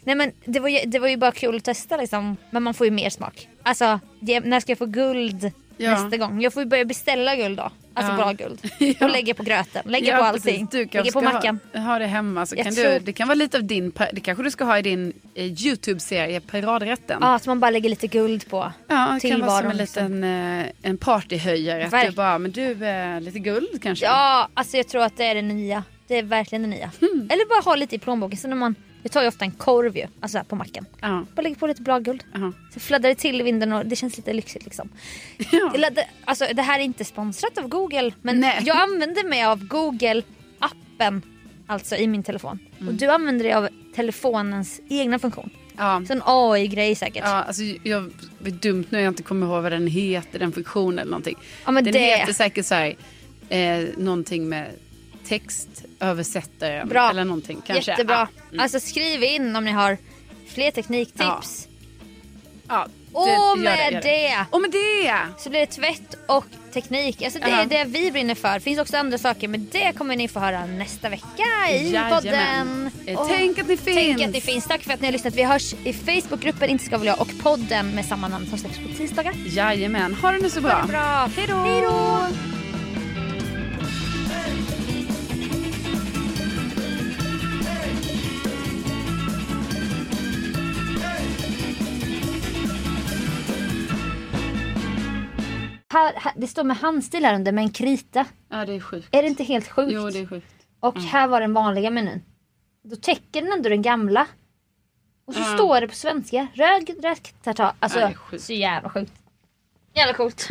Speaker 2: Nej men det var, ju, det var ju bara kul att testa liksom. Men man får ju mer smak. Alltså det, när ska jag få guld
Speaker 3: Ja.
Speaker 2: nästa gång? Jag får ju börja beställa guld då. Alltså
Speaker 3: Ja.
Speaker 2: bra guld.
Speaker 3: (laughs) Ja.
Speaker 2: Och lägga på gröten, lägga
Speaker 3: Ja,
Speaker 2: på
Speaker 3: precis.
Speaker 2: allting.
Speaker 3: Du kanske
Speaker 2: lägga på
Speaker 3: ska
Speaker 2: mackan.
Speaker 3: Ha, ha det hemma. Så
Speaker 2: Jag
Speaker 3: kan
Speaker 2: tror-
Speaker 3: du, det kan vara lite av din... pa- Det kanske du ska ha i din eh, YouTube-serie Paradrätten.
Speaker 2: Ja, att man bara lägger lite guld på
Speaker 3: Ja, det kan vara som en
Speaker 2: liksom.
Speaker 3: liten eh, en partyhöjare. Att du
Speaker 2: Verkligen.
Speaker 3: bara, men du, eh, lite guld kanske?
Speaker 2: Ja, alltså jag tror att det är det nya. Det är verkligen det nya.
Speaker 3: Hmm.
Speaker 2: Eller bara ha lite i plånboken. Sen när man, jag tar ju ofta en korv ju, alltså här på macken.
Speaker 3: Ja,
Speaker 2: Bara lägger på lite bladguld.
Speaker 3: ja.
Speaker 2: Så fladdrar det till i vinden och det känns lite lyxigt liksom.
Speaker 3: Ja.
Speaker 2: Eller det- Alltså det här är inte sponsrat av Google men
Speaker 3: Nej.
Speaker 2: jag använder mig av Google appen alltså i min telefon. Och
Speaker 3: Mm.
Speaker 2: du använder dig av telefonens egna funktion.
Speaker 3: ja.
Speaker 2: Så en AI-grej säkert.
Speaker 3: ja alltså, jag, det är dumt nu jag inte kommer ihåg vad den heter, den funktionen eller någonting.
Speaker 2: Ja, men
Speaker 3: den
Speaker 2: det-
Speaker 3: heter säkert så här, eh, någonting med textöversättaren
Speaker 2: Bra.
Speaker 3: eller någonting. Kanske. Mm.
Speaker 2: Jättebra. Alltså skriv in om ni har fler tekniktips.
Speaker 3: Ja, ja,
Speaker 2: Och
Speaker 3: gör
Speaker 2: med
Speaker 3: gör
Speaker 2: det.
Speaker 3: Och med det!
Speaker 2: Så blir det tvätt och teknik. Alltså det är
Speaker 3: Ja.
Speaker 2: det vi brinner för. Det finns också andra saker men det kommer ni få höra nästa vecka i
Speaker 3: Jajamän.
Speaker 2: podden.
Speaker 3: Eh,
Speaker 2: Och
Speaker 3: tänk att ni
Speaker 2: Tänk
Speaker 3: finns.
Speaker 2: att ni finns. Tack för att ni har lyssnat. Vi hörs i Facebookgruppen Inte ska väl jag och podden med samma namn som släpps på tisdagar.
Speaker 3: Jajamän, ha det nu så bra.
Speaker 2: Bra. Hej då. Här, här, det står med handstil här under med en krita.
Speaker 3: Ja, det är sjukt.
Speaker 2: Är det inte helt sjukt?
Speaker 3: Jo, det är Mm. sjukt.
Speaker 2: Och här var den vanliga menyn. Då täcker den ändå den gamla. Och så står det på svenska. Röd räktartar. Alltså
Speaker 3: Ja, det är sjukt.
Speaker 2: så jävla sjukt. Jävla coolt.